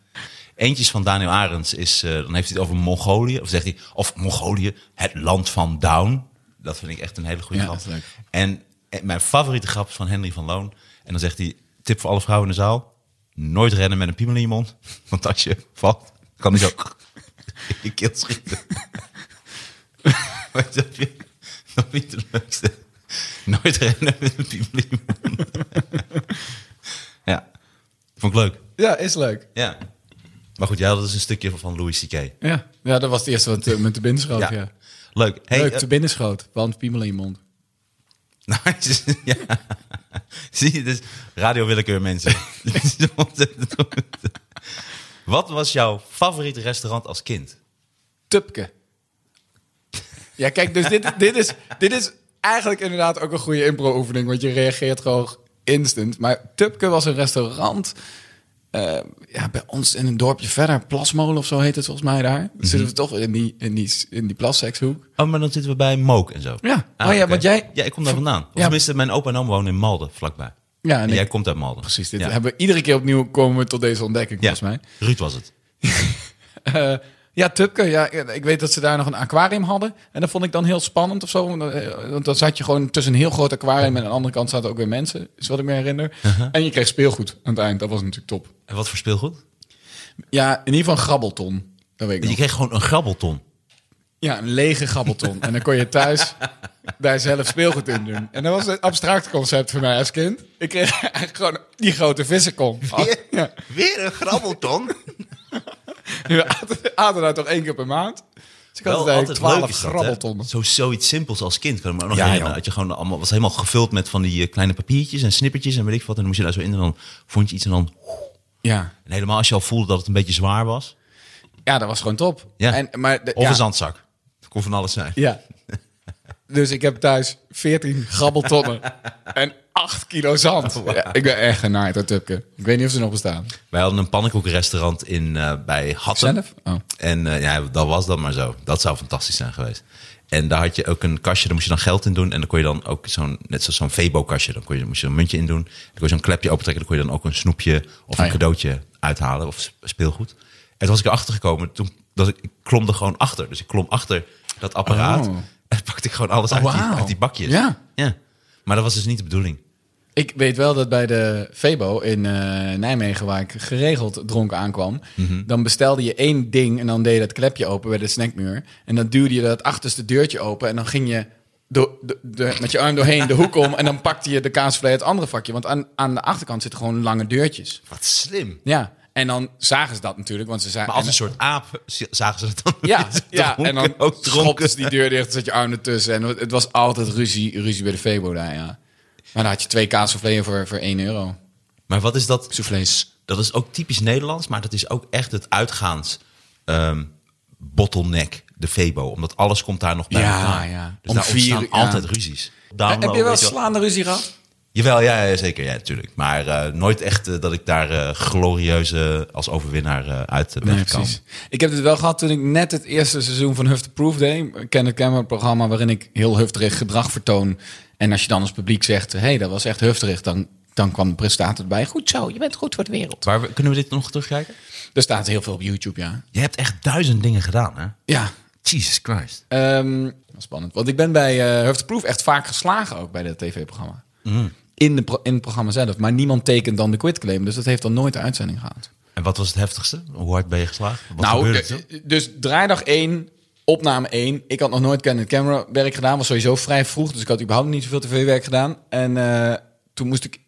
Speaker 2: Eentjes van Daniel Arends is, eh, dan heeft hij het over Mongolië. Of zegt hij, of Mongolië, het land van Down. Dat vind ik echt een hele goede
Speaker 3: Ja,
Speaker 2: grap.
Speaker 3: dat is leuk.
Speaker 2: En, en mijn favoriete grap is van Henry van Loon. En dan zegt hij, tip voor alle vrouwen in de zaal. Nooit rennen met een piemel in je mond. [laughs] Want als je valt, kan hij zo in [laughs] je keel schieten. [laughs] Maar dat vind ik nog niet de leukste. Nooit rennen met een piemel in je mond. [laughs] ja, vond ik leuk.
Speaker 3: Ja, is leuk.
Speaker 2: Ja. Maar goed, jij had dus een stukje van Louis C.K.
Speaker 3: Ja, ja dat was het eerste wat eh, me te binnen schoot. Ja.
Speaker 2: Leuk. Hey,
Speaker 3: leuk,
Speaker 2: eh,
Speaker 3: te binnen schoot. Want piemel in je mond.
Speaker 2: [laughs] nice. ja. [laughs] Zie je, dus radio willekeur mensen.
Speaker 3: [laughs]
Speaker 2: [laughs] Wat was jouw favoriete restaurant als kind?
Speaker 3: Tupke. Ja, kijk, dus dit, dit, is, dit is eigenlijk inderdaad ook een goede impro-oefening, want je reageert gewoon instant. Maar Tupke was een restaurant eh, ja, bij ons in een dorpje verder, Plasmolen of zo heet het volgens mij daar. Dan Zitten we toch in die, in die, in die plassekshoek.
Speaker 2: Oh, maar dan zitten we bij Mook en zo.
Speaker 3: Ja.
Speaker 2: Ah,
Speaker 3: oh ja,
Speaker 2: oké.
Speaker 3: want jij...
Speaker 2: Ja, ik kom daar vandaan. Of
Speaker 3: Ja.
Speaker 2: tenminste, mijn opa en oom wonen in Malden, vlakbij.
Speaker 3: Ja,
Speaker 2: En
Speaker 3: nee,
Speaker 2: jij komt uit Malden.
Speaker 3: precies. Dit
Speaker 2: ja.
Speaker 3: hebben we iedere keer opnieuw komen we tot deze ontdekking,
Speaker 2: Ja.
Speaker 3: volgens mij.
Speaker 2: Ruud was het.
Speaker 3: Eh, ja, Tupke. Ja, ik weet dat ze daar nog een aquarium hadden. En dat vond ik dan heel spannend of zo. Want dan- eh, Want dan zat je gewoon tussen een heel groot aquarium... en aan de andere kant zaten ook weer mensen, is wat ik me herinner.
Speaker 2: Uh-huh.
Speaker 3: En je kreeg speelgoed aan het eind. Dat was natuurlijk top.
Speaker 2: En wat voor speelgoed?
Speaker 3: Ja, in ieder geval een grabbelton. Dat weet ik
Speaker 2: Je
Speaker 3: nog.
Speaker 2: kreeg gewoon een
Speaker 3: [laughs]
Speaker 2: grabbelton.
Speaker 3: Ja, een lege grabbelton. en dan kon
Speaker 2: [laughs]
Speaker 3: je thuis daar zelf speelgoed in doen. En dat was een abstract concept voor mij als kind. Ik kreeg eigenlijk gewoon die grote vissenkom. Ja.
Speaker 2: Weer een grabbelton?
Speaker 3: [laughs] We aten- aten daar toch één keer per maand. Dus ik had
Speaker 2: Wel
Speaker 3: het
Speaker 2: altijd leuk
Speaker 3: eigenlijk twaalf
Speaker 2: is dat, hè?
Speaker 3: grabbeltonnen.
Speaker 2: Zo, zoiets simpels als kind. Kan ik me ook nog
Speaker 3: Ja,
Speaker 2: herinneren.
Speaker 3: joh.
Speaker 2: Dat je gewoon allemaal, was helemaal gevuld met van die eh, kleine papiertjes en snippertjes en weet ik wat. En dan moest je daar zo in en dan vond je iets en dan...
Speaker 3: Ja.
Speaker 2: En helemaal als je al voelde dat het een beetje zwaar was.
Speaker 3: Ja, dat was gewoon top.
Speaker 2: Ja.
Speaker 3: En, maar de-
Speaker 2: Of
Speaker 3: ja,
Speaker 2: een zandzak. Dat kon van alles zijn.
Speaker 3: Ja. [laughs] Dus ik heb thuis 14
Speaker 2: [laughs]
Speaker 3: grabbeltonnen en 8 kilo
Speaker 2: Oh,
Speaker 3: zand. Ja, ik ben echt genaaid door Tupke. Ik weet niet of ze nog bestaan.
Speaker 2: Wij hadden een pannenkoekenrestaurant in, eh, bij Hattem.
Speaker 3: Zelf? Oh.
Speaker 2: En eh, ja, dat was dan maar zo. Dat zou fantastisch zijn geweest. En daar had je ook een kastje, daar moest je dan geld in doen. En dan kon je dan ook zo'n, net zoals zo'n Febo-kastje, dan kon je, moest je een muntje in doen. Dan kon je zo'n klepje opentrekken, dan kon je dan ook een snoepje of
Speaker 3: Ah,
Speaker 2: een
Speaker 3: ja.
Speaker 2: cadeautje uithalen of sp- speelgoed. En toen was ik erachter gekomen, toen dat ik, ik klom er gewoon achter. Dus ik klom achter dat apparaat
Speaker 3: Oh.
Speaker 2: en pakte ik gewoon alles uit, die,
Speaker 3: wauw.
Speaker 2: uit die bakjes.
Speaker 3: Ja.
Speaker 2: ja. Maar dat was dus niet de bedoeling.
Speaker 3: Ik weet wel dat bij de Febo in eh, Nijmegen, waar ik geregeld dronken aankwam,
Speaker 2: Mhm.
Speaker 3: dan bestelde je één ding en dan deed je dat klepje open bij de snackmuur. En dan duwde je dat achterste deurtje open en dan ging je do- do- de- met je arm doorheen de hoek om en dan pakte je de kaasvlees het andere vakje. Want aan, aan de achterkant zitten gewoon lange deurtjes.
Speaker 2: Wat slim.
Speaker 3: Ja, en dan zagen ze dat natuurlijk, want ze zagen...
Speaker 2: Maar als
Speaker 3: en-
Speaker 2: een soort aap z- zagen ze het dan. [laughs]
Speaker 3: Ja, ja en
Speaker 2: dronken,
Speaker 3: dan
Speaker 2: ook dronken.
Speaker 3: schopte ze die deur dicht, zat je arm ertussen. En het was altijd ruzie, ruzie bij de Febo daar, ja. Maar dan had je twee kaassoufflés voor, voor 1 euro.
Speaker 2: Maar wat is dat?
Speaker 3: Soufflés.
Speaker 2: Dat is ook typisch Nederlands, maar dat is ook echt het uitgaans ehm, bottleneck, de Febo. Omdat alles komt daar nog bij
Speaker 3: Ja,
Speaker 2: elkaar.
Speaker 3: ja.
Speaker 2: Dus
Speaker 3: Om
Speaker 2: daar
Speaker 3: vier-
Speaker 2: ontstaan
Speaker 3: ja. Eh,
Speaker 2: altijd ruzies. Download,
Speaker 3: Heb je wel
Speaker 2: weet je
Speaker 3: slaande ruzie gehad?
Speaker 2: Jawel, ja, ja, zeker, ja, natuurlijk. Maar eh, nooit echt eh, dat ik daar eh, glorieus eh, als overwinnaar eh, uit eh, ben gekomen.
Speaker 3: Ik heb het wel gehad toen ik net het eerste seizoen van Huft Proof deed. Ik ken het programma waarin ik heel hufterig gedrag vertoon. En als je dan als publiek zegt, hé, hey, dat was echt hufterig, dan, dan kwam de presentator erbij. Goed zo, je bent goed voor de wereld.
Speaker 2: Waar we- kunnen we dit nog terugkijken?
Speaker 3: Er staat heel veel op YouTube, ja.
Speaker 2: Je hebt echt duizend dingen gedaan, hè?
Speaker 3: Ja,
Speaker 2: Jesus Christ.
Speaker 3: Ehm, spannend. Want ik ben bij eh Hufteproef Proof echt vaak geslagen ook bij dat tv-programma.
Speaker 2: Mhm.
Speaker 3: In, de pro- in het programma zelf. Maar niemand tekent dan de quitclaim. Dus dat heeft dan nooit de uitzending gehad.
Speaker 2: En wat was het heftigste? Hoe hard ben je geslaagd? Wat
Speaker 3: nou,
Speaker 2: gebeurde
Speaker 3: de-
Speaker 2: er?
Speaker 3: dus draaidag 1, opname 1. Ik had nog nooit Canon Camera werk gedaan. Was sowieso vrij vroeg. Dus ik had überhaupt niet zoveel tv-werk gedaan. En eh, toen moest ik...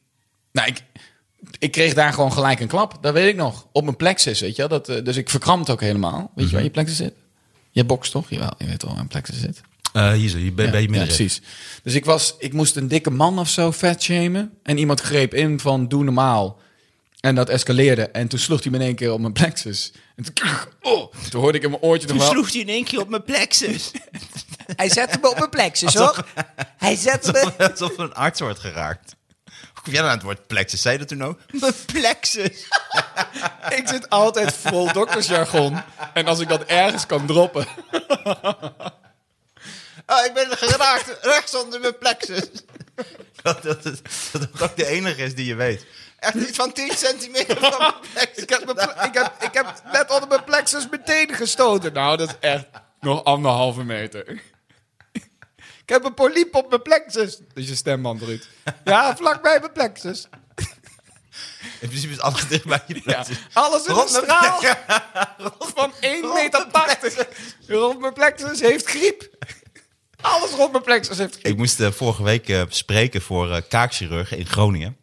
Speaker 3: Nou, ik, ik kreeg daar gewoon gelijk een klap. Dat weet ik nog. Op mijn plexus, weet je wel. Dat, eh, dus ik verkrampt ook helemaal. Weet
Speaker 2: Mhm.
Speaker 3: je waar je plexus zit? Je bokst toch? Jawel, je weet wel waar een plexus zit.
Speaker 2: Eh, hier zo, je ben, ben je
Speaker 3: Ja,
Speaker 2: midden.
Speaker 3: precies. Dus ik, was, ik moest een dikke man of zo vet shamen. En iemand greep in van doe normaal. En dat escaleerde. En toen sloeg hij me in één keer op mijn plexus. En toen, [laughs] oh, toen hoorde ik in mijn oortje nog wel...
Speaker 2: hij in één keer op mijn plexus.
Speaker 4: Hij zette me op mijn plexus, hoor. Hij zette me...
Speaker 2: [laughs] Alsof een arts wordt geraakt. Hoe kom jij nou aan het woord plexus? Zei je dat toen ook? [laughs] Mijn plexus.
Speaker 3: Ik zit altijd vol doktersjargon. En als ik dat ergens kan droppen... [laughs]
Speaker 2: Ah, Oh, ik ben geraakt rechts onder mijn plexus. [laughs] dat, dat, dat, dat ook de enige is die je weet. Echt iets van 10 centimeter van mijn plek.
Speaker 3: Ik heb, mijn ple- ik, heb, ik
Speaker 2: [laughs]
Speaker 3: heb net onder mijn plexus meteen gestoten. Nou, dat is echt nog anderhalve meter. [laughs] Ik heb een polyp op mijn plexus. Dat is je stemband, Ruud. Ja, vlak bij mijn plexus.
Speaker 2: In principe is alles dicht bij je
Speaker 3: Ja,
Speaker 2: plek.
Speaker 3: alles in een
Speaker 2: Rond mijn [laughs]
Speaker 3: straal van 1,80 meter. 80. Rond mijn plexus heeft griep. Alles rond mijn plexus heeft griep.
Speaker 2: Ik moest eh, vorige week eh, spreken voor eh, kaakchirurgen in Groningen.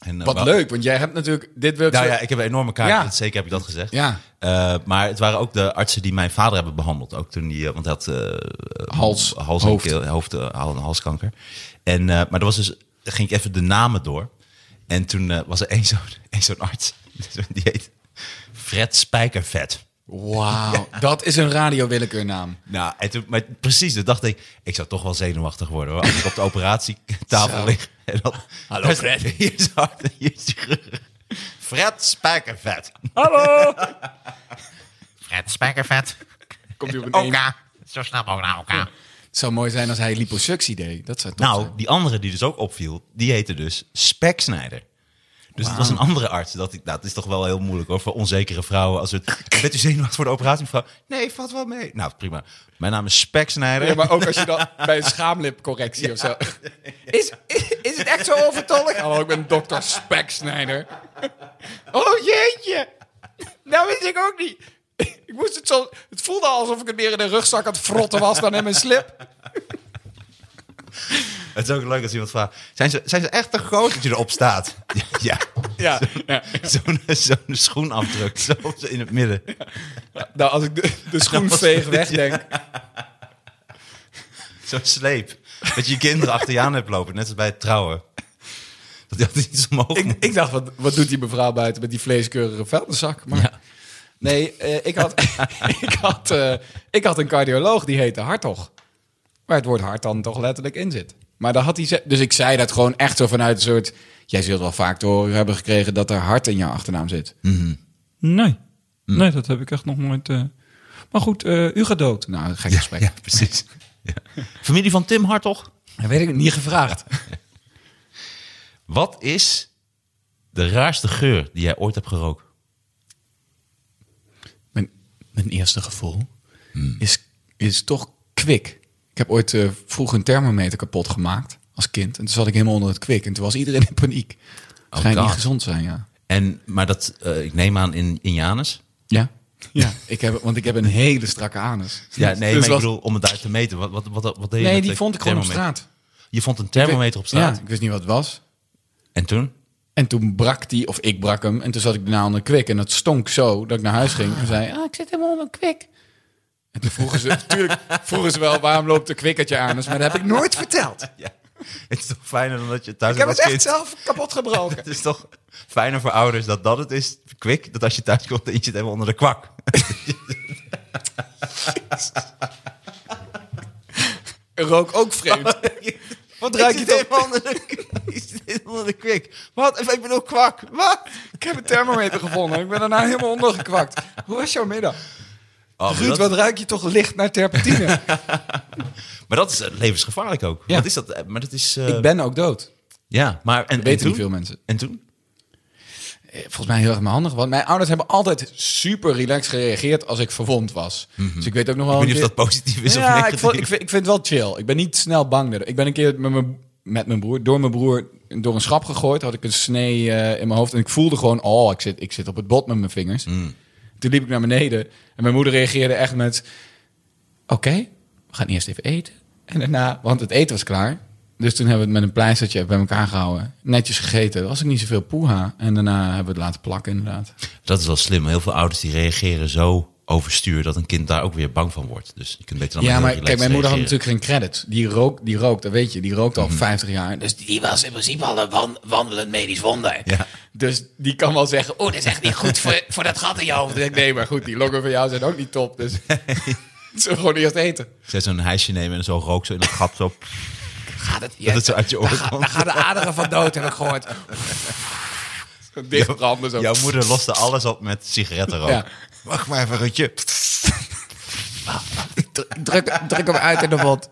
Speaker 2: En, eh,
Speaker 3: Wat
Speaker 2: wel-
Speaker 3: leuk, want jij hebt natuurlijk... Dit wil ik
Speaker 2: Nou
Speaker 3: zo-
Speaker 2: ja, ik heb een enorme kaak.
Speaker 3: Ja.
Speaker 2: dat- Zeker heb ik dat gezegd.
Speaker 3: Ja.
Speaker 2: Eh, maar het waren ook de artsen die mijn vader hebben behandeld. Ook toen die, eh, want hij had eh,
Speaker 3: Hals,
Speaker 2: hals
Speaker 3: hoofd.
Speaker 2: en keel, hoofd, eh, hal- en halskanker. En, eh, maar er was dus, ging ik even de namen door. En toen eh, was er één zo'n [laughs] één zo'n arts. Die heet Fred Spijkervet. [laughs]
Speaker 3: Wauw, dat is een radio-willekeurnaam.
Speaker 2: Nou, en toen, maar precies, toen dacht ik, ik zou toch wel zenuwachtig worden hoor. Als ik op de operatietafel
Speaker 3: Zo.
Speaker 2: lig. En dan,
Speaker 3: Hallo,
Speaker 2: daar is-
Speaker 3: Fred.
Speaker 2: [laughs] Hier is hard, hier is chirurg. Fred Spijkervet.
Speaker 3: Hallo!
Speaker 5: Het spijkervet.
Speaker 3: [laughs] Komt hij op een één.
Speaker 5: Oka. Zo snel mogelijk naar elkaar.
Speaker 3: Het zou mooi zijn als hij liposuctie deed. Dat zou toch
Speaker 2: Nou, die andere die dus ook opviel, die heette dus Speksnijder. Dus het was een andere arts. Dat, ik, nou, het is toch wel heel moeilijk hoor, voor onzekere vrouwen. Als het, bent u zenuwachtig voor de operatie, mevrouw? Nee, valt wel mee. Nou, prima. Mijn naam is Speksnijder.
Speaker 3: Ja, maar ook als je dan bij een
Speaker 2: [laughs]
Speaker 3: schaamlipcorrectie of zo. Is, is, [laughs] is het echt zo overtollig? Hallo, ik ben dokter Speksnijder. [laughs] Oh jeetje. Nou wist ik ook niet. [laughs] Ik moest het zo... Het voelde alsof ik het meer in de rugzak aan het frotten was dan in mijn slip.
Speaker 2: Het is ook leuk als iemand vraagt, zijn ze, zijn ze echt te groot dat je erop staat? [laughs] Ja, ja.
Speaker 3: Ja. ja.
Speaker 2: Zo'n zo'n schoenafdruk, zo op de- in het midden.
Speaker 3: Nou, als ik de, de schoenveeg [laughs] wegdenk.
Speaker 2: Zo'n sleep. Dat je je kinderen achter je aan hebt lopen, net als bij het trouwen. Dat die altijd iets omhoog
Speaker 3: Ik,
Speaker 2: moet.
Speaker 3: ik dacht, wat, wat doet die mevrouw buiten met die vleeskeurige vuilniszak? Maar nee, eh, ik, had, [laughs] ik, had, eh, ik had een cardioloog die heette Hartog. Waar het woord hart dan toch letterlijk in zit. Maar dan had hij ze- dus ik zei dat gewoon echt zo vanuit een soort... Jij zult wel vaak te horen hebben gekregen dat er hart in jouw achternaam zit.
Speaker 6: Nee. Nee, dat heb ik echt nog nooit. eh. Maar goed, eh, u gaat dood.
Speaker 3: Nou, een gek gesprek.
Speaker 2: Ja, precies. Ja. Familie van Tim Hartog.
Speaker 3: Dat weet ik niet gevraagd.
Speaker 2: Wat is de raarste geur die jij ooit hebt gerookt?
Speaker 3: Mijn, mijn eerste gevoel
Speaker 2: Hmm.
Speaker 3: is, is toch kwik. Ik heb ooit eh, vroeg een thermometer kapot gemaakt als kind. En toen zat ik helemaal onder het kwik. En toen was iedereen in paniek. Het Schijnt niet
Speaker 2: God.
Speaker 3: gezond zijn, ja.
Speaker 2: En, maar dat, eh, ik neem aan in, in Janus.
Speaker 3: Ja? Ja, ik heb, want ik heb een hele strakke anus.
Speaker 2: Ja, nee,
Speaker 3: Dus
Speaker 2: maar ik
Speaker 3: was-
Speaker 2: bedoel, om het uit te meten. Wat, wat, wat, wat deed je
Speaker 3: Nee,
Speaker 2: met
Speaker 3: die
Speaker 2: de
Speaker 3: vond ik gewoon op
Speaker 2: thermometer?
Speaker 3: straat.
Speaker 2: Je vond een thermometer op straat?
Speaker 3: Ja, ik wist niet wat het was.
Speaker 2: En toen?
Speaker 3: En toen brak die, of ik brak hem. En toen zat ik daarna onder kwik. En dat stonk zo dat ik naar huis ging. En zei, ah, ik zit helemaal onder kwik. En toen vroegen ze, [laughs] natuurlijk vroegen ze wel, waarom loopt de kwikkertje anus? Maar dat heb ik nooit verteld.
Speaker 2: Ja. [laughs] Het is toch fijner dan dat je thuis
Speaker 3: Ik heb
Speaker 2: als
Speaker 3: het echt
Speaker 2: kind-
Speaker 3: zelf kapot
Speaker 2: [laughs]
Speaker 3: gebroken.
Speaker 2: Het is toch fijner voor ouders dat dat het is, kwik, dat als je thuis komt en je zit helemaal onder de kwak.
Speaker 3: Rook ook vreemd. Wat ruik je
Speaker 2: zit
Speaker 3: toch?
Speaker 2: helemaal onder de, [laughs] je zit helemaal onder de kwik. Wat? Ik bedoel kwak. Wat?
Speaker 3: Ik heb een thermometer gevonden. Ik ben daarna helemaal ondergekwakt. Hoe was jouw middag?
Speaker 2: Oh, maar,
Speaker 3: Ruud,
Speaker 2: dat,
Speaker 3: wat ruik je toch licht naar terpentine?
Speaker 2: maar dat is eh, levensgevaarlijk ook.
Speaker 3: Ja.
Speaker 2: Wat is dat? Eh, Maar dat is... eh,
Speaker 3: ik ben ook dood.
Speaker 2: Ja, maar... En,
Speaker 3: weten
Speaker 2: en toen?
Speaker 3: niet veel mensen.
Speaker 2: En toen?
Speaker 3: Eh, [laughs] Volgens mij heel erg mijn handig. Want mijn ouders hebben altijd super relaxed gereageerd als ik verwond was. Dus ik weet ook nog wel...
Speaker 2: Mhm. Ik weet
Speaker 3: een
Speaker 2: niet of dat [laughs]
Speaker 3: keer-
Speaker 2: positief is of
Speaker 3: ja, ik,
Speaker 2: negatief.
Speaker 3: vond- ik, vind, ik vind het wel chill. Ik ben niet snel bang. daardoor. Ik ben een keer met mijn, met mijn broer, door mijn broer, door een schap gegooid. Had ik een snee eh, in mijn hoofd. En ik voelde gewoon, oh, ik zit, ik zit op het bot met mijn vingers. Toen liep ik naar beneden. En mijn moeder reageerde echt met... Oké, we gaan eerst even eten. En daarna, want het eten was klaar. Dus toen hebben we het met een pleistertje bij elkaar gehouden. Netjes gegeten. Er was ook niet zoveel poeha. En daarna hebben we het laten plakken, inderdaad.
Speaker 2: Dat is wel slim. Heel veel ouders die reageren zo overstuur dat een kind daar ook weer bang van wordt. Dus je kunt beter dan
Speaker 3: ja,
Speaker 2: heel
Speaker 3: maar
Speaker 2: relaxed
Speaker 3: kijk, mijn moeder had
Speaker 2: reageren.
Speaker 3: natuurlijk geen credit. Die rookt, die rookt, dat weet je. Die rookt al 50 jaar. Dus
Speaker 4: Dus die was in principe al een wan- wandelend medisch wonder.
Speaker 2: Ja.
Speaker 3: Dus die kan wel zeggen, oh, dat is echt niet goed
Speaker 4: [laughs]
Speaker 3: voor,
Speaker 4: Voor dat gat in je
Speaker 3: Dan
Speaker 4: hoofd.
Speaker 3: denk ik, nee, maar goed, die longen van jou zijn ook niet top.
Speaker 4: [laughs]
Speaker 3: Dus ze gewoon eerst eten.
Speaker 2: Zij zo'n hijsje nemen en zo rook zo in het gat
Speaker 3: [laughs]
Speaker 2: zo.
Speaker 4: Gaat het,
Speaker 2: dat het zo uit je oren komt.
Speaker 4: Daar gaan de aderen van dood, heb ik gehoord.
Speaker 3: [laughs] Zo Dichtbranden zo.
Speaker 2: Jouw moeder loste alles op met sigarettenrook.
Speaker 3: Ja.
Speaker 2: Wacht maar even, Rutje.
Speaker 3: Druk, druk hem uit in de wond.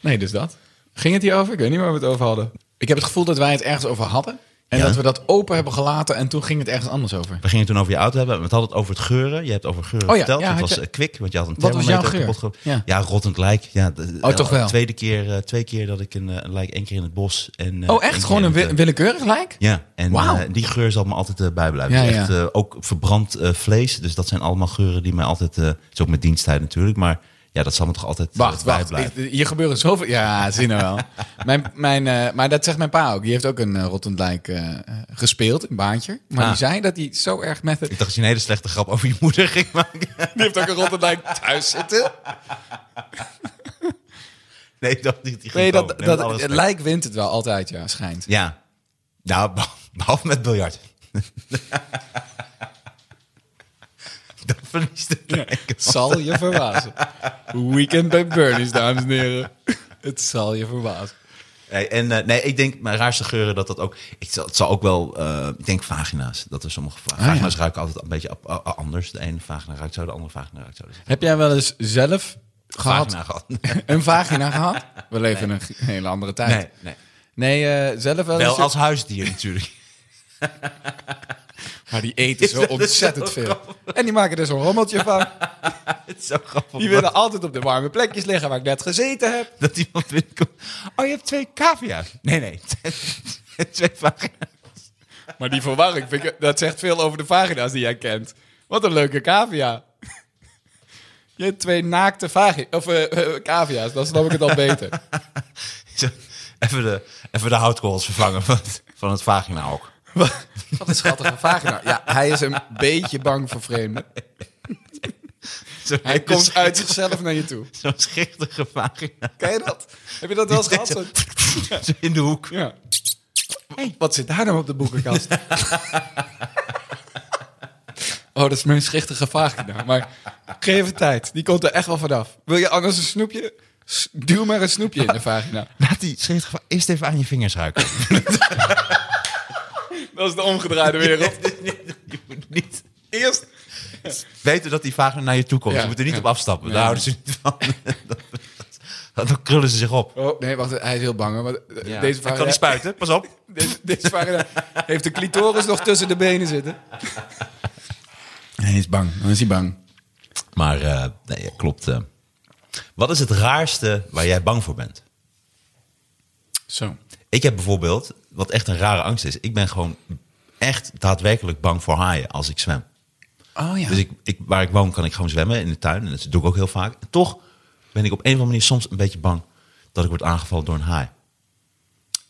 Speaker 3: Nee, dus dat. Ging het hier over? Ik weet niet waar we het over hadden. Ik heb het gevoel dat wij het ergens over hadden. En
Speaker 2: Ja.
Speaker 3: dat we dat open hebben gelaten en toen ging het ergens anders over.
Speaker 2: We gingen het toen over je auto hebben. We hadden het over het geuren. Je hebt over geuren
Speaker 3: Oh ja,
Speaker 2: verteld.
Speaker 3: ja,
Speaker 2: het
Speaker 3: had
Speaker 2: was
Speaker 3: je-
Speaker 2: eh, kwik, want je had een
Speaker 3: Wat was
Speaker 2: thermometer
Speaker 3: jouw geur?
Speaker 2: kapot ge-
Speaker 3: Ja.
Speaker 2: ja. rottend lijk. Ja, de-
Speaker 3: Oh, toch wel.
Speaker 2: Tweede keer, eh, twee keer dat ik een, eh, een lijk, één keer in het bos. En, eh,
Speaker 3: Oh,
Speaker 2: één
Speaker 3: echt?
Speaker 2: keer
Speaker 3: Gewoon
Speaker 2: in
Speaker 3: een
Speaker 2: het,
Speaker 3: wi-
Speaker 2: eh,
Speaker 3: willekeurig lijk?
Speaker 2: Ja, en
Speaker 3: Wauw.
Speaker 2: eh, die geur zal me altijd eh, bijblijven.
Speaker 3: Ja,
Speaker 2: Echt,
Speaker 3: ja.
Speaker 2: eh, ook verbrand eh, vlees. Dus dat zijn allemaal geuren die mij altijd... eh, het is ook mijn diensttijd natuurlijk, maar ja, dat zal me toch altijd eh,
Speaker 3: Wacht, wacht.
Speaker 2: bijblijven.
Speaker 3: Ik- hier gebeuren zoveel... Ja, zie nou [laughs] wel. mijn, mijn, eh, maar dat zegt mijn pa ook. Die heeft ook een uh, rottend lijk eh, gespeeld, een baantje. Maar
Speaker 2: Ah.
Speaker 3: die zei dat hij zo erg met het...
Speaker 2: Ik dacht dat je een hele slechte grap over je moeder ging maken. [laughs]
Speaker 3: Die heeft ook een rottend lijk thuis zitten.
Speaker 2: Nee, ik dacht niet. Die ging
Speaker 3: Nee, dat,
Speaker 2: komen.
Speaker 3: dat,
Speaker 2: Nee, met alle
Speaker 3: het
Speaker 2: respect.
Speaker 3: lijk wint het wel altijd, ja, schijnt.
Speaker 2: Ja. Nou, beh- [laughs] behalve met biljart. dat verliest het lijk.
Speaker 3: Zal je verbazen. Weekend bij Bernie's, dames en heren. Het zal je verbazen.
Speaker 2: Nee, en eh, nee, ik denk mijn raarste geuren dat dat ook. Ik zal, het zal ook wel. eh, ik denk vagina's. Dat er sommige va- vagina's ruiken altijd een beetje ap- a- a- anders. De ene vagina ruikt zo, de andere vagina ruikt zo. Dus
Speaker 3: Heb jij wel eens zelf gehad,
Speaker 2: Vagina gehad.
Speaker 3: een vagina gehad? We leven in een hele andere tijd.
Speaker 2: [laughs] Nee, nee.
Speaker 3: Nee, eh, zelf wel,
Speaker 2: Wel
Speaker 3: eens.
Speaker 2: als huisdier natuurlijk. [laughs]
Speaker 3: Maar [laughs] die eten zo
Speaker 2: Dat is
Speaker 3: ontzettend
Speaker 2: zo
Speaker 3: veel. En die maken er zo'n rommeltje van.
Speaker 2: het is zo grappig.
Speaker 3: Die willen altijd op de warme plekjes liggen waar ik net gezeten heb.
Speaker 2: Dat iemand binnenkomt. Oh, je hebt twee cavia's. Nee, nee. [laughs] twee vagina's.
Speaker 3: Maar die verwarring, vind ik, dat zegt veel over de vagina's die jij kent. Wat een leuke cavia. [laughs] Je hebt twee naakte vagi of, eh, eh, cavia's, dan snap ik het al beter.
Speaker 2: Zo, Even de, even de houtkorrels vervangen van het, van het vagina
Speaker 3: [laughs]
Speaker 2: ook.
Speaker 3: Wat een schattige vagina. Ja, hij is een beetje bang voor vreemden. Hij komt uit zichzelf naar je toe.
Speaker 2: [laughs] Zo'n schichtige vagina.
Speaker 3: Ken je dat? Heb je dat wel eens gehad? Zo-
Speaker 2: Zo [laughs] In de hoek.
Speaker 3: Ja. Hey, wat zit daar nou op de boekenkast? [laughs] oh, dat is mijn schichtige vagina. Maar geef het tijd. Die komt er echt wel vanaf. Wil je anders een snoepje? S- Duw maar een snoepje in de vagina.
Speaker 2: Laat die schichtige va- eerst even aan je vingers
Speaker 3: [laughs]
Speaker 2: ruiken.
Speaker 3: Dat is de omgedraaide wereld.
Speaker 2: je moet niet
Speaker 3: Eerst.
Speaker 2: weten dat die vagina naar je toe komt.
Speaker 3: Ja.
Speaker 2: Je moet er niet
Speaker 3: Ja.
Speaker 2: op afstappen.
Speaker 3: Nee.
Speaker 2: Daar houden ze niet van. [laughs] Dan- Dan krullen ze zich op.
Speaker 3: Oh, nee, wacht. Hij is heel bang. hoor, Want eh, deze,
Speaker 2: Hij kan
Speaker 3: vagina,
Speaker 2: niet spuiten, pas op.
Speaker 3: deze, deze vagina heeft de clitoris nog tussen de benen zitten. Hij is bang. Dan is hij bang.
Speaker 2: Maar eh, nee, ja, klopt. eh. Wat is het raarste waar jij bang voor bent?
Speaker 3: Zo.
Speaker 2: Ik heb bijvoorbeeld, wat echt een rare angst is, ik ben gewoon echt daadwerkelijk bang voor haaien als ik zwem.
Speaker 3: Oh ja.
Speaker 2: Dus ik, ik, waar ik woon kan ik gewoon zwemmen in de tuin. En dat doe ik ook heel vaak. En toch ben ik op een of andere manier soms een beetje bang dat ik word aangevallen door een haai.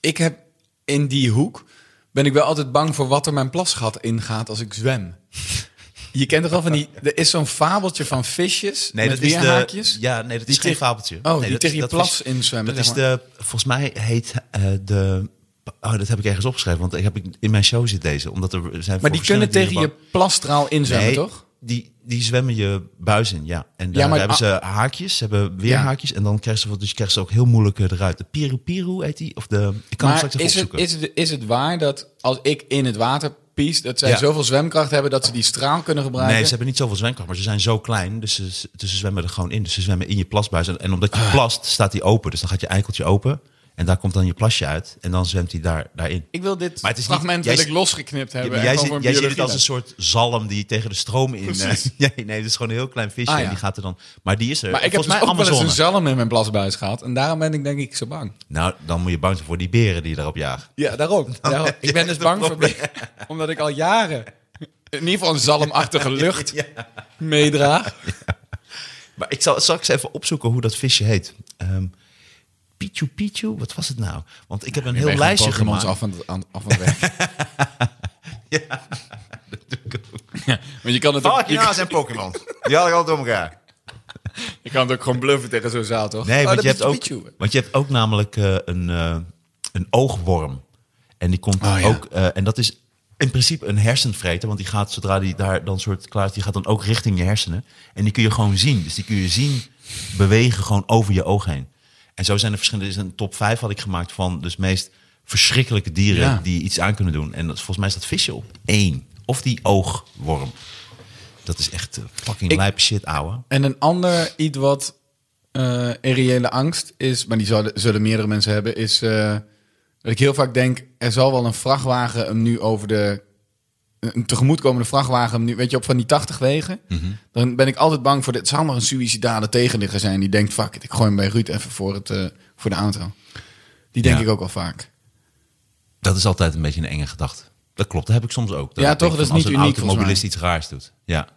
Speaker 3: ik heb in die hoek ben ik wel altijd bang voor wat er mijn plasgat ingaat als ik zwem. Je kent toch wel van die. Er is zo'n fabeltje van visjes met weerhaakjes.
Speaker 2: ja, nee, dat is
Speaker 3: Die
Speaker 2: geen
Speaker 3: tegen-
Speaker 2: fabeltje.
Speaker 3: Oh,
Speaker 2: nee,
Speaker 3: die
Speaker 2: dat-
Speaker 3: tegen je
Speaker 2: dat
Speaker 3: plas
Speaker 2: is-
Speaker 3: inzwemmen,
Speaker 2: Dat is
Speaker 3: zeg
Speaker 2: de, volgens mij heet eh, de, oh, dat heb ik ergens opgeschreven. Want ik heb ik- in mijn show zit deze, omdat er zijn
Speaker 3: maar die kunnen tegen je plasstraal inzwemmen,
Speaker 2: nee,
Speaker 3: toch?
Speaker 2: Die, die zwemmen je buis in, ja. En daar
Speaker 3: Ja, maar- ah.
Speaker 2: hebben ze haakjes, ze hebben weerhaakjes. En dan krijgen ze, dus je krijgt ze ook heel moeilijk eh, eruit. De piru piru heet die, of de, ik kan hem
Speaker 3: Maar
Speaker 2: straks even
Speaker 3: is het,
Speaker 2: opzoeken.
Speaker 3: is, het, is het waar dat als ik in het water pies, dat zij
Speaker 2: Ja.
Speaker 3: zoveel zwemkracht hebben dat ze die straal kunnen gebruiken?
Speaker 2: Nee, ze hebben niet zoveel zwemkracht, maar ze zijn zo klein. Dus ze, dus ze zwemmen er gewoon in. Dus ze zwemmen in je plasbuis. En, en omdat je
Speaker 3: Ah.
Speaker 2: plast, staat die open. Dus dan gaat je eikeltje open. En daar komt dan je plasje uit. En dan zwemt hij daar, daarin.
Speaker 3: Ik wil dit
Speaker 2: Maar het is niet-
Speaker 3: fragment
Speaker 2: jij
Speaker 3: wil
Speaker 2: z-
Speaker 3: ik losgeknipt hebben.
Speaker 2: jij
Speaker 3: en gewoon
Speaker 2: ziet,
Speaker 3: voor een
Speaker 2: jij ziet het
Speaker 3: biologie
Speaker 2: als een soort zalm die tegen de stroom in. eh, [laughs]
Speaker 3: Precies.
Speaker 2: Nee, nee, het is gewoon een heel klein visje.
Speaker 3: Ah, ja.
Speaker 2: En die gaat er dan. Maar die is er.
Speaker 3: Maar ik heb
Speaker 2: eh, Volgens
Speaker 3: mij
Speaker 2: mij
Speaker 3: ook wel eens
Speaker 2: Amazone.
Speaker 3: een zalm in mijn plasbuis gehad. En daarom ben ik denk ik zo bang.
Speaker 2: Nou, dan moet je bang zijn voor die beren die je erop jagen.
Speaker 3: Ja, daarom. Daarom.
Speaker 2: [laughs] heb je
Speaker 3: Ik ben
Speaker 2: echt
Speaker 3: dus
Speaker 2: een
Speaker 3: bang voor
Speaker 2: Oh, probleem.
Speaker 3: blik, omdat ik al jaren in ieder geval een
Speaker 2: [laughs]
Speaker 3: zalmachtige lucht meedraag.
Speaker 2: Maar ik zal straks even opzoeken hoe dat visje heet. Ehm Pichu Pichu, wat was het nou? Want ik heb een heel lijstje gemaakt.
Speaker 3: af van, aan, af van
Speaker 2: [laughs]
Speaker 3: weg. ja, Want je kan, het ook, je, kan-
Speaker 2: en Pokémon. Die hadden al door elkaar.
Speaker 3: je kan het ook gewoon bluffen tegen zo'n zaal, toch?
Speaker 2: Nee,
Speaker 3: Oh,
Speaker 2: want
Speaker 3: dat
Speaker 2: je, hebt
Speaker 3: is
Speaker 2: ook,
Speaker 3: Pichu.
Speaker 2: want je hebt ook namelijk eh, een, eh, een oogworm. En die komt
Speaker 3: Oh, ja.
Speaker 2: ook. eh, en dat is in principe een hersenvreter. Want die gaat zodra die daar dan soort klaar is, die gaat dan ook richting je hersenen. En die kun je gewoon zien. Dus die kun je zien bewegen gewoon over je oog heen. En zo zijn er verschillende. Er is een top 5 had ik gemaakt van dus meest verschrikkelijke dieren
Speaker 3: Ja.
Speaker 2: die iets aan kunnen doen. En dat, volgens mij staat visje op één. Of die oogworm. Dat is echt eh, fucking
Speaker 3: Ik-
Speaker 2: lijpe shit, ouwe.
Speaker 3: En een ander iets wat eh, in reële angst is, maar die zullen, zullen meerdere mensen hebben, is eh, dat ik heel vaak denk, er zal wel een vrachtwagen hem nu over de... Een tegemoetkomende vrachtwagen, hem nu, weet je, op van die 80 wegen.
Speaker 2: Mhm.
Speaker 3: Dan ben ik altijd bang voor, dit het zou maar een suïcidale tegenligger zijn. Die denkt, fuck it, ik gooi hem bij Ruud even voor, het, eh, voor de auto. Die denk
Speaker 2: Ja.
Speaker 3: ik ook wel vaak.
Speaker 2: Dat is altijd een beetje een enge gedachte. Dat klopt, dat heb ik soms ook.
Speaker 3: Ja,
Speaker 2: ik denk
Speaker 3: toch? Dat is
Speaker 2: van,
Speaker 3: niet
Speaker 2: Als een
Speaker 3: uniek, volgens
Speaker 2: automobilist iets raars doet. Ja.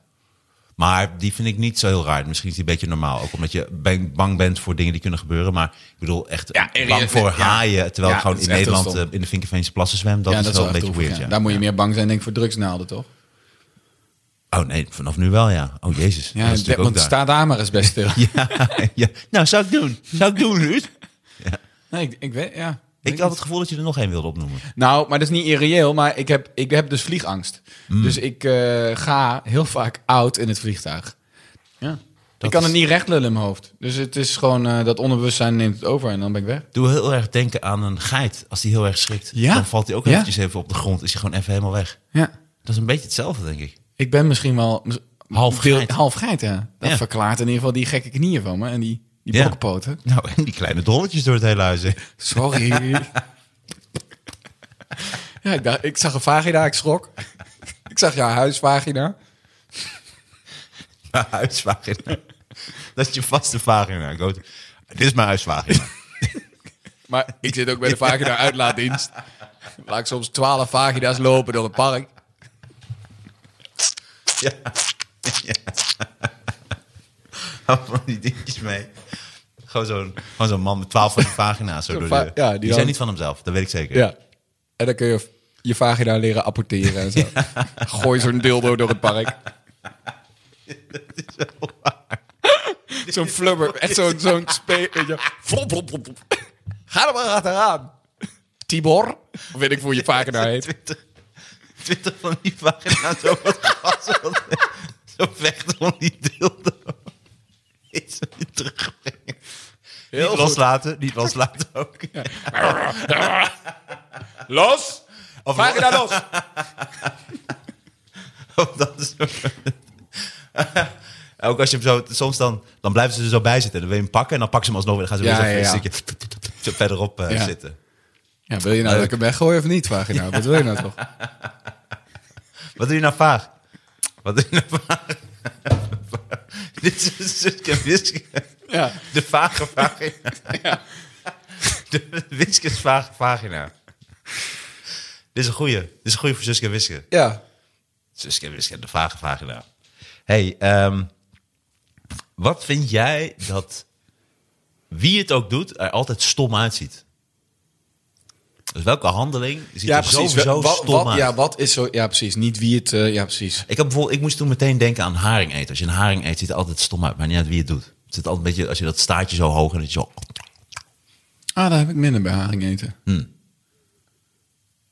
Speaker 2: Maar die vind ik niet zo heel raar. Misschien is die een beetje normaal. Ook omdat je ben- bang bent voor dingen die kunnen gebeuren. Maar ik bedoel, echt
Speaker 3: Ja, er-
Speaker 2: bang voor
Speaker 3: ja.
Speaker 2: haaien. Terwijl
Speaker 3: Ja,
Speaker 2: ik gewoon
Speaker 3: dat
Speaker 2: in
Speaker 3: is echt heel
Speaker 2: Nederland
Speaker 3: stom.
Speaker 2: eh, in de Vinkerveense plassen zwem. Dat,
Speaker 3: ja,
Speaker 2: is wel een
Speaker 3: echt
Speaker 2: beetje
Speaker 3: droevig,
Speaker 2: weird,
Speaker 3: ja.
Speaker 2: ja.
Speaker 3: Daar moet je meer bang zijn, denk ik, voor drugsnaalden, toch?
Speaker 2: Oh nee, vanaf nu wel, ja. Oh jezus.
Speaker 3: Ja,
Speaker 2: dat is natuurlijk ook
Speaker 3: want
Speaker 2: daar.
Speaker 3: sta daar maar eens best stil.
Speaker 2: [laughs] Ja, ja. Nou, zou ik doen. Zou ik doen, Ruud?
Speaker 3: Nee, ik, ik weet, ja.
Speaker 2: Ik had het gevoel dat je er nog één wilde opnoemen.
Speaker 3: Nou, maar dat is niet irreëel, maar ik heb, ik heb dus vliegangst.
Speaker 2: Hmm.
Speaker 3: Dus ik eh, ga heel vaak oud in het vliegtuig. Ja. ik kan
Speaker 2: is-
Speaker 3: het niet recht lullen in mijn hoofd. Dus het is gewoon eh, dat onderbewustzijn neemt het over en dan ben ik weg.
Speaker 2: Doe heel erg denken aan een geit. Als die heel erg schrikt,
Speaker 3: Ja.
Speaker 2: dan valt hij ook
Speaker 3: Ja.
Speaker 2: eventjes even op de grond. Is hij gewoon even helemaal weg.
Speaker 3: Ja.
Speaker 2: Dat is een beetje hetzelfde, denk ik.
Speaker 3: Ik ben misschien wel mis-
Speaker 2: Half
Speaker 3: deel-
Speaker 2: geit.
Speaker 3: half geit, ja. Dat
Speaker 2: Ja.
Speaker 3: verklaart in ieder geval die gekke knieën van me en die, die
Speaker 2: Ja.
Speaker 3: bokkenpoten.
Speaker 2: Nou, en die kleine dolletjes door het hele huis. heen.
Speaker 3: Sorry. ja, ik, dacht, ik zag een vagina, ik schrok. ik zag jouw huisvagina.
Speaker 2: [laughs] Mijn [laughs] huisvagina. Dat is je vaste vagina. Ik hoop- Dit is mijn huisvagina.
Speaker 3: Maar ik zit ook bij de vagina uitlaatdienst. Laat ik soms twaalf vagina's lopen door het park.
Speaker 2: [laughs] Hou van die dingetjes mee. Gewoon zo'n, gewoon zo'n man met twaalf van die vagina's. Zo door de,
Speaker 3: va- ja, die
Speaker 2: die
Speaker 3: dan-
Speaker 2: zijn niet van hemzelf, dat weet ik zeker.
Speaker 3: [laughs]
Speaker 2: [laughs]
Speaker 3: Ja. En dan kun je je vagina leren apporteren en zo. Gooi zo'n dildo door het park. Zo'n flubber, echt zo'n zo'n spe- weet je, flop, flop, flop, flop. Ga er maar achteraan. Tibor, of weet ik hoe je vagina heet.
Speaker 2: Twintig van die vagina's zo wat gas. [laughs] Zo vechten om die dildo. Is er niet terugbrengen.
Speaker 3: Heel
Speaker 2: niet
Speaker 3: goed.
Speaker 2: loslaten, [laughs] niet loslaten ook.
Speaker 3: Los! Vagina los!
Speaker 2: [laughs] Oh, dat is... Ook als je hem zo, soms dan, dan blijven ze er zo bij zitten. Dan wil je hem pakken en dan pakken ze hem alsnog weer. Dan gaan ze
Speaker 3: Ja,
Speaker 2: weer
Speaker 3: ja,
Speaker 2: zo,
Speaker 3: ja.
Speaker 2: een stukje [laughs] zo verderop eh,
Speaker 3: Ja.
Speaker 2: zitten.
Speaker 3: Ja, wil je nou dat ik hem weggooi of niet, vagina? Wat wil je nou toch?
Speaker 2: Wat doe je nou vaag? Wat doe je nou vaag? [laughs] Dit is een stukje whisky.
Speaker 3: Ja.
Speaker 2: De vage vagina. [laughs] De Wiskes vage vagina. Dit is een goeie. Dit is een goeie voor Suske en Wiske.
Speaker 3: Ja.
Speaker 2: Suske en Wiske, de vage vagina. hey, ehm, wat vind jij dat wie het ook doet er altijd stom uitziet? Dus welke handeling ziet
Speaker 3: Ja,
Speaker 2: er
Speaker 3: precies.
Speaker 2: sowieso
Speaker 3: Wa- wa-
Speaker 2: stom
Speaker 3: wat,
Speaker 2: uit?
Speaker 3: ja, wat is zo... Ja, precies. Niet wie het... eh, ja, precies.
Speaker 2: Ik, heb bijvoorbeeld, ik moest toen meteen denken aan haring eten. Als je een haring eet, ziet het altijd stom uit. Maar niet uit wie het doet. Het zit altijd een beetje, als je dat staartje zo hoog en dat je zo...
Speaker 3: Ah, daar heb ik minder bij haring eten.
Speaker 2: Hm.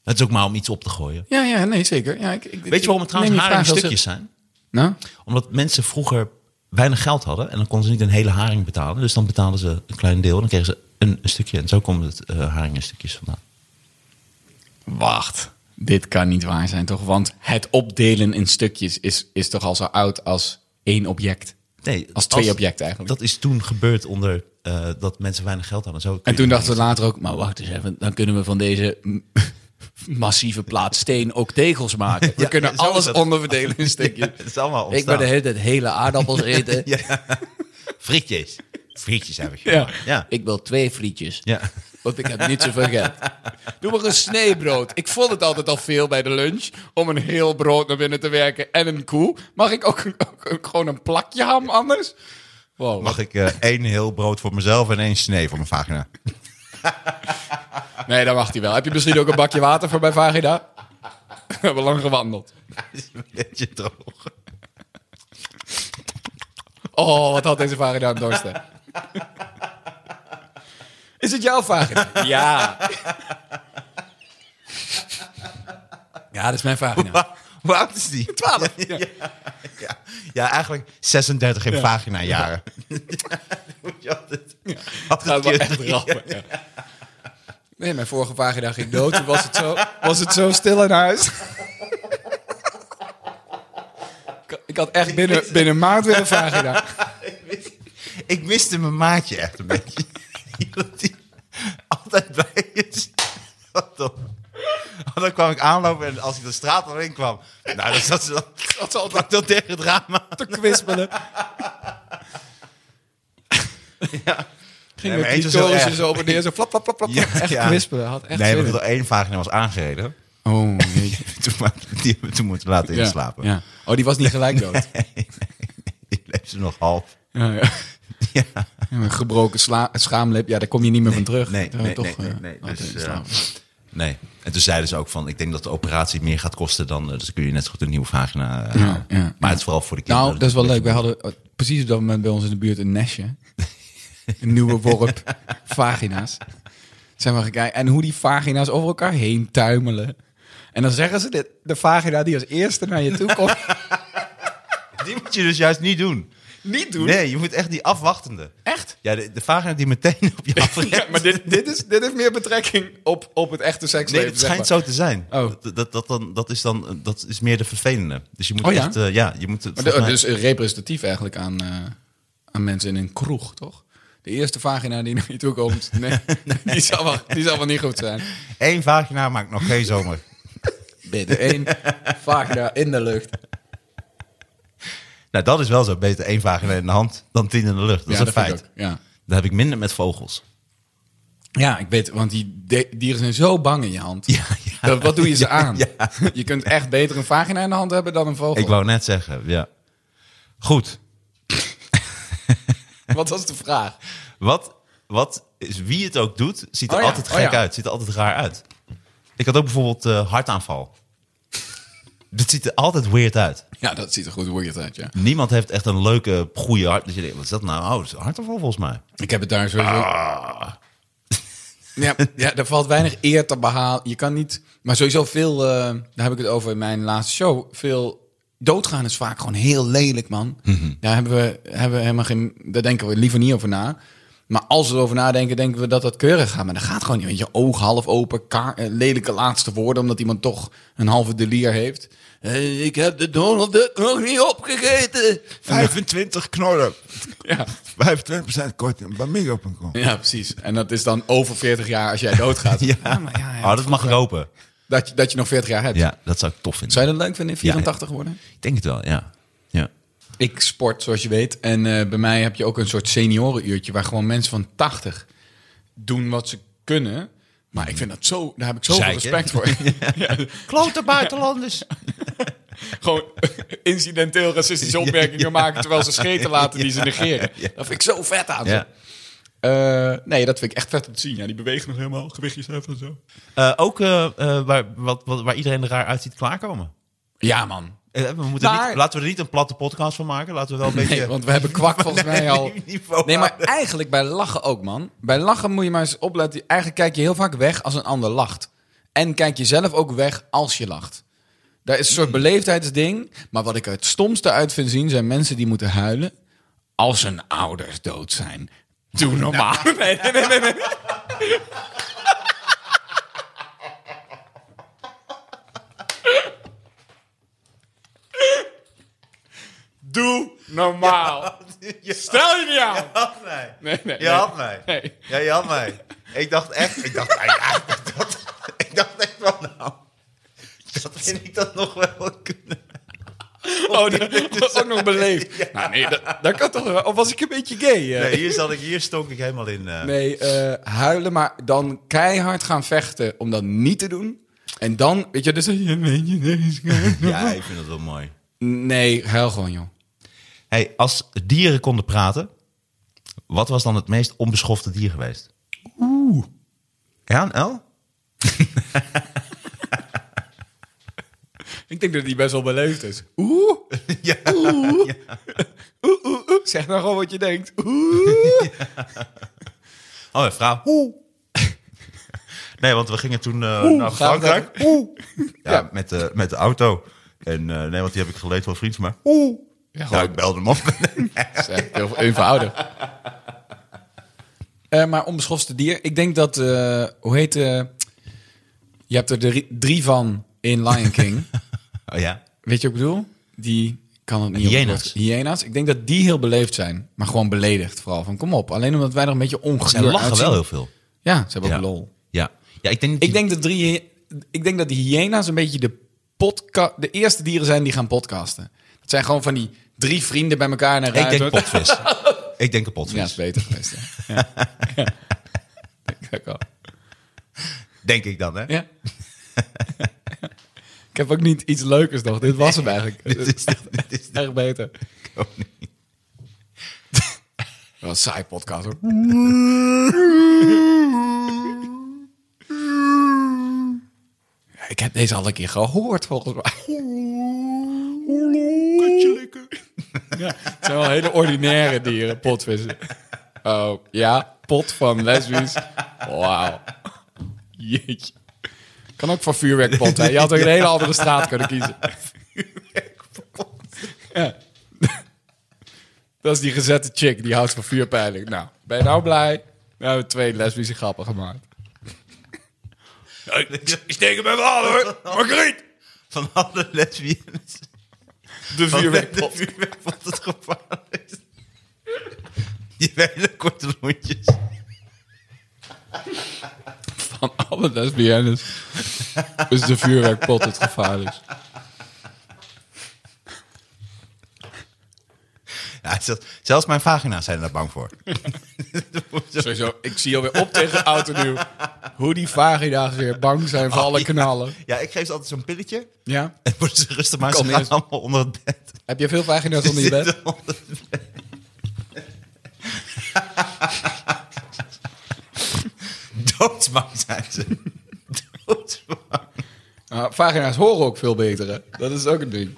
Speaker 2: Het is ook maar om iets op te gooien.
Speaker 3: Ja, ja, nee, zeker. Ja, ik, ik-
Speaker 2: Weet je waarom het
Speaker 3: ik neem
Speaker 2: trouwens
Speaker 3: je vraag
Speaker 2: haring
Speaker 3: als
Speaker 2: stukjes zijn?
Speaker 3: het- Nou?
Speaker 2: Omdat mensen vroeger weinig geld hadden. En dan konden ze niet een hele haring betalen. Dus dan betaalden ze een klein deel. En dan kregen ze een, een stukje. En zo komen het eh haring in stukjes vandaan.
Speaker 3: Wacht. Dit kan niet waar zijn, toch? Want het opdelen in stukjes is, is toch al zo oud als één object?
Speaker 2: Nee,
Speaker 3: Als twee objecten eigenlijk.
Speaker 2: Dat is toen gebeurd onder eh, dat mensen weinig geld hadden. Zo kun
Speaker 3: En
Speaker 2: je
Speaker 3: toen
Speaker 2: het
Speaker 3: dachten we
Speaker 2: [laughs]
Speaker 3: later ook, maar wacht eens even, dan kunnen we van deze m- [laughs] massieve plaat steen ook tegels maken. We
Speaker 2: Ja,
Speaker 3: kunnen
Speaker 2: zo is
Speaker 3: alles
Speaker 2: dat.
Speaker 3: onderverdelen in
Speaker 2: [laughs]
Speaker 3: stukjes.
Speaker 2: Ja, het is allemaal
Speaker 3: ik ben
Speaker 2: ontstaan.
Speaker 3: de hele tijd hele aardappels eten.
Speaker 2: Frietjes. Frietjes heb ik.
Speaker 3: Ja.
Speaker 2: [laughs] Ja.
Speaker 3: Ik wil twee frietjes.
Speaker 2: ja.
Speaker 3: [laughs] Want ik heb niet [laughs] zoveel geld. Doe maar een sneebrood. Ik vond het altijd al veel bij de lunch om een heel brood naar binnen te werken en een koe. Mag ik ook, ook- ook gewoon een plakje ham anders? Wow.
Speaker 2: Mag ik eh, één heel brood voor mezelf en één snee voor mijn vagina? [laughs]
Speaker 3: Nee, dat mag hij wel. Heb je misschien ook een bakje water voor mijn vagina? [laughs] We hebben lang gewandeld.
Speaker 2: is een beetje droog.
Speaker 3: Oh, wat had deze vagina aan dorst, hè?
Speaker 2: [laughs]
Speaker 3: Is het jouw vagina?
Speaker 2: [laughs]
Speaker 3: Ja. Ja, dat is mijn vagina.
Speaker 2: Wa- Hoe oud is die?
Speaker 3: 12.
Speaker 2: Ja, ja eigenlijk 36 in vagina jaren. [laughs] Moet je altijd, altijd
Speaker 3: gaat wel
Speaker 2: keer [laughs]
Speaker 3: echt
Speaker 2: drie.
Speaker 3: rappen. ja. Nee, mijn vorige vagina ging dood. Toen was het zo, was het zo stil in huis. Ik- Ik had echt binnen, binnen een maand weer een vagina.
Speaker 2: Ik miste mijn maatje echt een beetje. [laughs] Iemand die altijd bij is. Wat dan? Oh, dan kwam ik aanlopen en als ik de straat al in kwam... Nou, dan zat ze dan, zat ze altijd [laughs] dat tegen het raam aan.
Speaker 3: te kwispelen. Ging
Speaker 2: Nee, maar
Speaker 3: met
Speaker 2: eentje
Speaker 3: die
Speaker 2: was heel
Speaker 3: torens
Speaker 2: erg.
Speaker 3: zo op en neer, zo flap, flap, flap, flap.
Speaker 2: Ja,
Speaker 3: echt
Speaker 2: ja.
Speaker 3: kwispelen. Had echt
Speaker 2: nee,
Speaker 3: zin
Speaker 2: want
Speaker 3: in.
Speaker 2: ik had één vagina was aangereden. [laughs]
Speaker 3: Oh, jee.
Speaker 2: Toen, maar- die hebben we toen moeten laten
Speaker 3: Ja,
Speaker 2: inslapen.
Speaker 3: ja. Oh, die was niet gelijk dood.
Speaker 2: Ik leef ze nog half.
Speaker 3: [laughs] Ja, ja. Ja, Een gebroken sla- schaamlip, ja, daar kom je niet meer van terug.
Speaker 2: nee,
Speaker 3: Daar
Speaker 2: nee,
Speaker 3: toch,
Speaker 2: nee, nee,
Speaker 3: eh,
Speaker 2: nee,
Speaker 3: altijd
Speaker 2: dus,
Speaker 3: in slaap.
Speaker 2: Nee. En toen zeiden ze ook van, ik denk dat de operatie meer gaat kosten dan... eh, Dus kun je net zo goed een nieuwe vagina eh,
Speaker 3: Ja,
Speaker 2: halen.
Speaker 3: ja,
Speaker 2: maar het is vooral voor de kinderen. Dus-
Speaker 3: nou, dat is wel leuk. Wij hadden eh, precies op dat moment bij ons in de buurt een
Speaker 2: [laughs]
Speaker 3: nestje. Een nieuwe worp vagina's. Zijn we gaan kijken. En hoe die vagina's over elkaar heen tuimelen. En dan zeggen ze dit, de vagina die als eerste naar je toe
Speaker 2: [laughs]
Speaker 3: komt,
Speaker 2: Die moet je dus juist niet doen.
Speaker 3: niet doen.
Speaker 2: Nee, je moet echt die afwachtende.
Speaker 3: Echt?
Speaker 2: Ja, de, de vagina die meteen op je afrekt.
Speaker 3: [laughs] Ja, maar dit, dit, is, dit heeft meer betrekking op, op het echte
Speaker 2: Nee,
Speaker 3: seksleven.
Speaker 2: het
Speaker 3: zeg
Speaker 2: schijnt
Speaker 3: maar.
Speaker 2: zo te zijn.
Speaker 3: Oh.
Speaker 2: Dat, dat, dat, dan, dat, is dan, eh, dat is meer de vervelende. Dus je moet
Speaker 3: Oh ja?
Speaker 2: echt... eh, ja, je moet het,
Speaker 3: Maar de-
Speaker 2: volgens mij-
Speaker 3: dus representatief eigenlijk aan, eh, aan mensen in een kroeg, toch? De eerste vagina die naar je toe komt, nee,
Speaker 2: [laughs]
Speaker 3: [laughs] Die, zal wel, die zal wel niet goed zijn.
Speaker 2: Eén vagina maakt nog geen zomer.
Speaker 3: Binnen
Speaker 2: [laughs]
Speaker 3: één vagina in de lucht.
Speaker 2: nou, dat is wel zo. Beter één vagina in de hand dan tien in de lucht. Dat is een
Speaker 3: vind ik
Speaker 2: feit.
Speaker 3: ook, Ja.
Speaker 2: Daar heb ik minder met vogels.
Speaker 3: ja, ik weet, want die de- dieren zijn zo bang in je hand.
Speaker 2: Ja, ja.
Speaker 3: Dat- wat doe je ze
Speaker 2: [laughs] Ja,
Speaker 3: aan?
Speaker 2: ja.
Speaker 3: Je kunt echt beter een vagina in de hand hebben dan een vogel.
Speaker 2: Ik wou net zeggen, ja. Goed.
Speaker 3: Wat was de vraag?
Speaker 2: Wat, wat is, wie het ook doet, ziet er
Speaker 3: Oh ja,
Speaker 2: altijd
Speaker 3: oh
Speaker 2: gek
Speaker 3: ja.
Speaker 2: uit. Ziet er altijd raar uit. Ik had ook bijvoorbeeld eh, hartaanval. Dit ziet er altijd weird uit.
Speaker 3: Ja, dat ziet er goed weird uit, ja.
Speaker 2: Niemand heeft echt een leuke, goede hart. Dat je denkt, wat is dat nou? Oh, het is een hartaanval volgens mij.
Speaker 3: Ik heb het daar sowieso... Ah. Ja, [laughs] ja, er valt weinig eer te behalen. Je kan niet... Maar sowieso veel... eh, daar heb ik het over in mijn laatste show. Veel... Doodgaan is vaak gewoon heel lelijk, man. Daar hebben we, hebben we helemaal geen... Daar denken we liever niet over na. Maar als we erover nadenken, denken we dat dat keurig gaat. Maar dat gaat gewoon niet. Want je oog half open, ka- eh, lelijke laatste woorden... omdat iemand toch een halve delier heeft. Eh, ik heb de Donald Duck nog niet opgegeten.
Speaker 7: 25 knorren.
Speaker 3: Ja,
Speaker 7: 25% korting bij Migo.com.
Speaker 3: ja, precies. En dat is dan over 40 jaar als jij [laughs] doodgaat.
Speaker 2: Ja.
Speaker 3: maar ja, ja.
Speaker 2: oh, dat mag ropen.
Speaker 3: Dat je, dat je nog 40 jaar hebt.
Speaker 2: Ja, dat zou ik tof vinden.
Speaker 3: Zou je dat leuk vinden, 84 worden?
Speaker 2: Ik denk het wel, ja. ja.
Speaker 3: Ik sport, zoals je weet. En eh, bij mij heb je ook een soort seniorenuurtje... waar gewoon mensen van 80 doen wat ze kunnen. Maar ik vind dat zo... Daar heb ik zoveel
Speaker 2: Zeik, hè?
Speaker 3: respect voor.
Speaker 2: [laughs]
Speaker 3: [laughs] Ja.
Speaker 2: Klote buitenlanders.
Speaker 3: Gewoon
Speaker 2: [laughs]
Speaker 3: incidenteel racistische opmerkingen maken... terwijl ze scheten laten die ze negeren. Dat vind ik zo vet aan ze.
Speaker 2: Ja.
Speaker 3: Eh, nee, dat vind ik echt vet om te zien. Ja, die bewegen nog helemaal, gewichtjes heffen en zo.
Speaker 2: Eh, ook eh, eh, waar, wat, wat, waar iedereen er raar uitziet klaarkomen.
Speaker 3: Ja, man.
Speaker 2: Eh, We moeten
Speaker 3: Maar-
Speaker 2: niet, laten we er niet een platte podcast van maken. Laten we wel een beetje...
Speaker 3: Nee, want we hebben kwak volgens mij al.
Speaker 2: niveau
Speaker 3: Nee, maar eigenlijk bij lachen ook, man. Bij lachen moet je maar eens opletten. Eigenlijk kijk je heel vaak weg als een ander lacht. En kijk je zelf ook weg als je lacht. Daar is een soort beleefdheidsding. Maar wat ik er het stomste uit vind zien zijn mensen die moeten huilen als hun ouders dood zijn. Doe normaal. Nee, nee, nee, nee, nee. Doe normaal. Stel je niet aan.
Speaker 2: had mij.
Speaker 3: Nee, nee,
Speaker 2: Je
Speaker 3: nee.
Speaker 2: had mij.
Speaker 3: Nee.
Speaker 2: Ja, je had mij. Ik dacht echt... Ik dacht, nou ja, dat, ik dacht echt wel nou... Dat vind ik dat nog wel kunnen.
Speaker 3: Oh, dat is ook nog beleefd. Nou, nee, dat, dat kan toch wel. Of was ik een beetje gay? eh?
Speaker 2: Nee, hier, zat ik, hier stonk ik helemaal in. eh.
Speaker 3: Nee, eh, huilen, maar dan keihard gaan vechten om dat niet te doen. En dan, weet je, dus...
Speaker 2: Ja, ik vind dat wel mooi.
Speaker 3: Nee, huil gewoon, joh.
Speaker 2: Hey, als dieren konden praten, wat was dan het meest onbeschofte dier geweest? Oeh. Ja, een L?
Speaker 3: Ik denk dat die best wel beleefd is. Oeh.
Speaker 2: Ja.
Speaker 3: Oeh, oeh, oeh. Zeg nou gewoon wat je denkt. Oeh.
Speaker 2: Oh, een vrouw. Oeh. [laughs] Nee, want we gingen toen eh, naar
Speaker 3: gaan we
Speaker 2: Frankrijk. Oeh. [laughs] Ja,
Speaker 3: Ja.
Speaker 2: Met, de, met de auto. En eh, nee, want die heb ik geleend van een vriend van mij. Oeh. Ja,
Speaker 3: gewoon-
Speaker 2: ik belde hem op. [laughs] Oh,
Speaker 3: Dat is echt heel, heel veel ouder. Eh, maar onbeschofte dier. Ik denk dat, eh, hoe heet... eh, je
Speaker 2: [laughs]
Speaker 3: hebt er drie- drie van in Lion King.
Speaker 2: oh ja.
Speaker 3: Weet je wat ik bedoel? Die kan het niet
Speaker 2: Hyena's.
Speaker 3: op het woord- Hyena's. Ik denk dat die heel beleefd zijn. Maar gewoon beledigd vooral. Van kom op. Alleen omdat wij er een beetje
Speaker 2: Ze
Speaker 3: ongelukkig
Speaker 2: lachen wel heel veel.
Speaker 3: Ja, ze hebben
Speaker 2: Ja.
Speaker 3: ook lol.
Speaker 2: Ja. ja, ik denk dat die-
Speaker 3: Ik denk dat, drie, ik denk dat die hyena's een beetje de, podca- de eerste dieren zijn die gaan podcasten. Het zijn gewoon van die drie vrienden bij elkaar naar
Speaker 2: ik denk
Speaker 3: Ruiter.
Speaker 2: potvis.
Speaker 3: [laughs]
Speaker 2: ik denk een
Speaker 3: Ja, is
Speaker 2: potvis.
Speaker 3: beter geweest. Ja. Ja. Ja. Denk ik ook wel.
Speaker 2: denk ik dan, hè? [laughs]
Speaker 3: Ja. ik heb ook niet iets leukers nog. Dit was hem [laughs] eigenlijk.
Speaker 2: Dit is de- dit is de
Speaker 3: Echt beter.
Speaker 2: koning.
Speaker 3: Wel een saai podcast hoor. Ja, ik heb deze al een keer gehoord volgens mij. Ja, het zijn wel hele ordinaire dieren, potvissen. Oh, ja, pot van lesbisch. Wauw. Jeetje. Kan ook voor vuurwerkpot, hè. Je had ook een hele andere straat kunnen kiezen. Ja. Dat is die gezette chick, die houdt van vuurpeiling. Nou, ben je nou blij? We hebben twee lesbische grappen
Speaker 2: [laughs]
Speaker 3: gemaakt.
Speaker 2: Ik steek hem even aan, hoor. Margriet! Van alle lesbiennes.
Speaker 3: De
Speaker 2: Van [laughs]
Speaker 3: vuurwerkpot.
Speaker 2: De vuurwerkpot het gevaarlijk is. [laughs] Die hele korte lontjes.
Speaker 3: [laughs] van alle lesbiennes is de vuurwerkpot het gevaarlijkst.
Speaker 2: Ja, zelfs, zelfs mijn vagina's zijn daar bang voor.
Speaker 3: Sowieso, ik zie alweer op tegen oud en nieuw hoe die vagina's weer bang zijn voor alle
Speaker 2: Oh, ja.
Speaker 3: knallen.
Speaker 2: Ja, ik geef ze altijd zo'n pilletje.
Speaker 3: Ja?
Speaker 2: [laughs] En worden ze rustig maar, ze
Speaker 3: Kan
Speaker 2: gaan
Speaker 3: niet.
Speaker 2: allemaal onder het bed.
Speaker 3: Heb je veel vagina's onder je bed?
Speaker 2: Zitten onder het bed. [laughs] Doodsbang zijn ze. Doodsbang.
Speaker 3: Nou, vagina's horen ook veel beter, hè? Dat is ook een ding.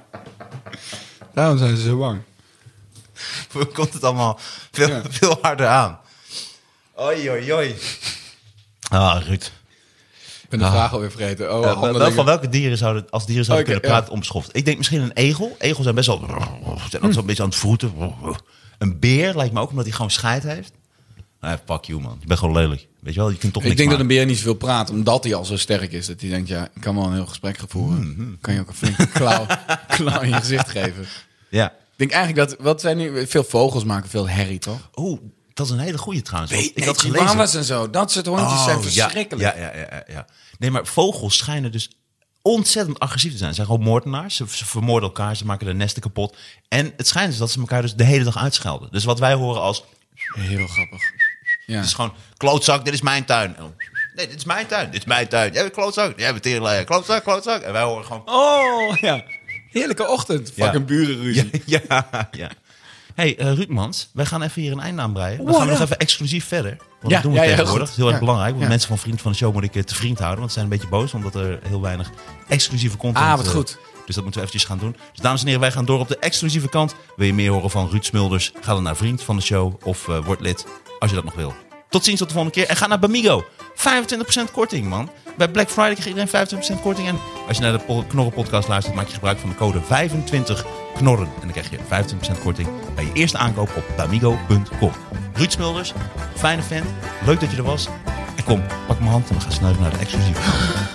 Speaker 3: [laughs] Daarom zijn ze zo bang.
Speaker 2: Hoe komt het allemaal veel,
Speaker 3: Ja.
Speaker 2: veel harder aan? Oi, oi, oi. Ah, Ruud.
Speaker 3: Ik ben de vraag alweer vergeten. Oh,
Speaker 2: Eh, wel-
Speaker 3: andere
Speaker 2: wel-
Speaker 3: dingen.
Speaker 2: van welke dieren zouden, als dieren zouden
Speaker 3: Oké,
Speaker 2: kunnen praten,
Speaker 3: ja.
Speaker 2: omschoft? Ik denk misschien een egel. Egels zijn best wel, zijn altijd een beetje aan het vroeten. Een beer lijkt me ook, omdat hij gewoon scheid heeft. Nee, fuck you, man. Je bent gewoon lelijk. Weet je wel, je kunt toch
Speaker 3: Ik
Speaker 2: niks
Speaker 3: denk dat een
Speaker 2: maken.
Speaker 3: beer niet zoveel praat, omdat hij al zo sterk is. Dat hij denkt, ja, ik kan wel een heel gesprek gaan voeren.
Speaker 2: Mm,
Speaker 3: Kan je ook een flinke
Speaker 2: [laughs]
Speaker 3: klauw, klauw in je gezicht geven.
Speaker 2: Ja.
Speaker 3: Ik denk eigenlijk dat, wat zijn nu, veel vogels maken veel herrie, toch?
Speaker 2: Oeh, dat is een hele goede trouwens. want ik
Speaker 3: Nee,
Speaker 2: had gelezen...
Speaker 3: chihuahuas en zo, dat soort hondjes
Speaker 2: Oh,
Speaker 3: zijn
Speaker 2: ja,
Speaker 3: verschrikkelijk.
Speaker 2: Ja, ja, ja, ja, ja. Nee, maar vogels schijnen dus ontzettend agressief te zijn. Ze zijn gewoon moordenaars. Ze, ze vermoorden elkaar, ze maken de nesten kapot. En het schijnt dus dat ze elkaar dus de hele dag uitschelden. Dus wat wij horen als...
Speaker 3: Heel grappig. Ja.
Speaker 2: Het is gewoon, klootzak, dit is mijn tuin. En dan, Nee, dit is mijn tuin, dit is mijn tuin. Jij bent klootzak, jij bent teerleier. Klootzak, klootzak. En wij horen gewoon...
Speaker 3: Oh, ja. Heerlijke ochtend.
Speaker 2: Ja.
Speaker 3: Fucking burenruzie.
Speaker 2: Ja, ja. hey, eh Ruudmans, wij gaan even hier een einde aan breien. Dan
Speaker 3: Wow,
Speaker 2: gaan we nog
Speaker 3: ja.
Speaker 2: even exclusief verder. Want
Speaker 3: Ja,
Speaker 2: dat doen we
Speaker 3: ja, ja,
Speaker 2: tegenwoordig.
Speaker 3: goed.
Speaker 2: Dat is heel erg
Speaker 3: Ja.
Speaker 2: belangrijk. Want
Speaker 3: Ja.
Speaker 2: mensen van vriend van de show moet ik eh, te vriend houden. Want ze zijn een beetje boos omdat er heel weinig exclusieve content
Speaker 3: Ah, wat
Speaker 2: eh,
Speaker 3: goed.
Speaker 2: Dus dat moeten we eventjes gaan doen. Dus dames en heren, wij gaan door op de exclusieve kant. Wil je meer horen van Ruud Smulders? Ga dan naar vriend van de show of eh, word lid als je dat nog wil. Tot ziens tot de volgende keer. En ga naar Bamigo. 25% korting, man. Bij Black Friday krijgt iedereen 25% korting. En als je naar de po- Knorren podcast luistert, maak je gebruik van de code 25KNORREN. En dan krijg je 25% korting bij je eerste aankoop op bamigo.com. Ruud Smulders, fijne fan. Leuk dat je er was. En kom, pak mijn hand en we gaan snel even naar de exclusieve kant.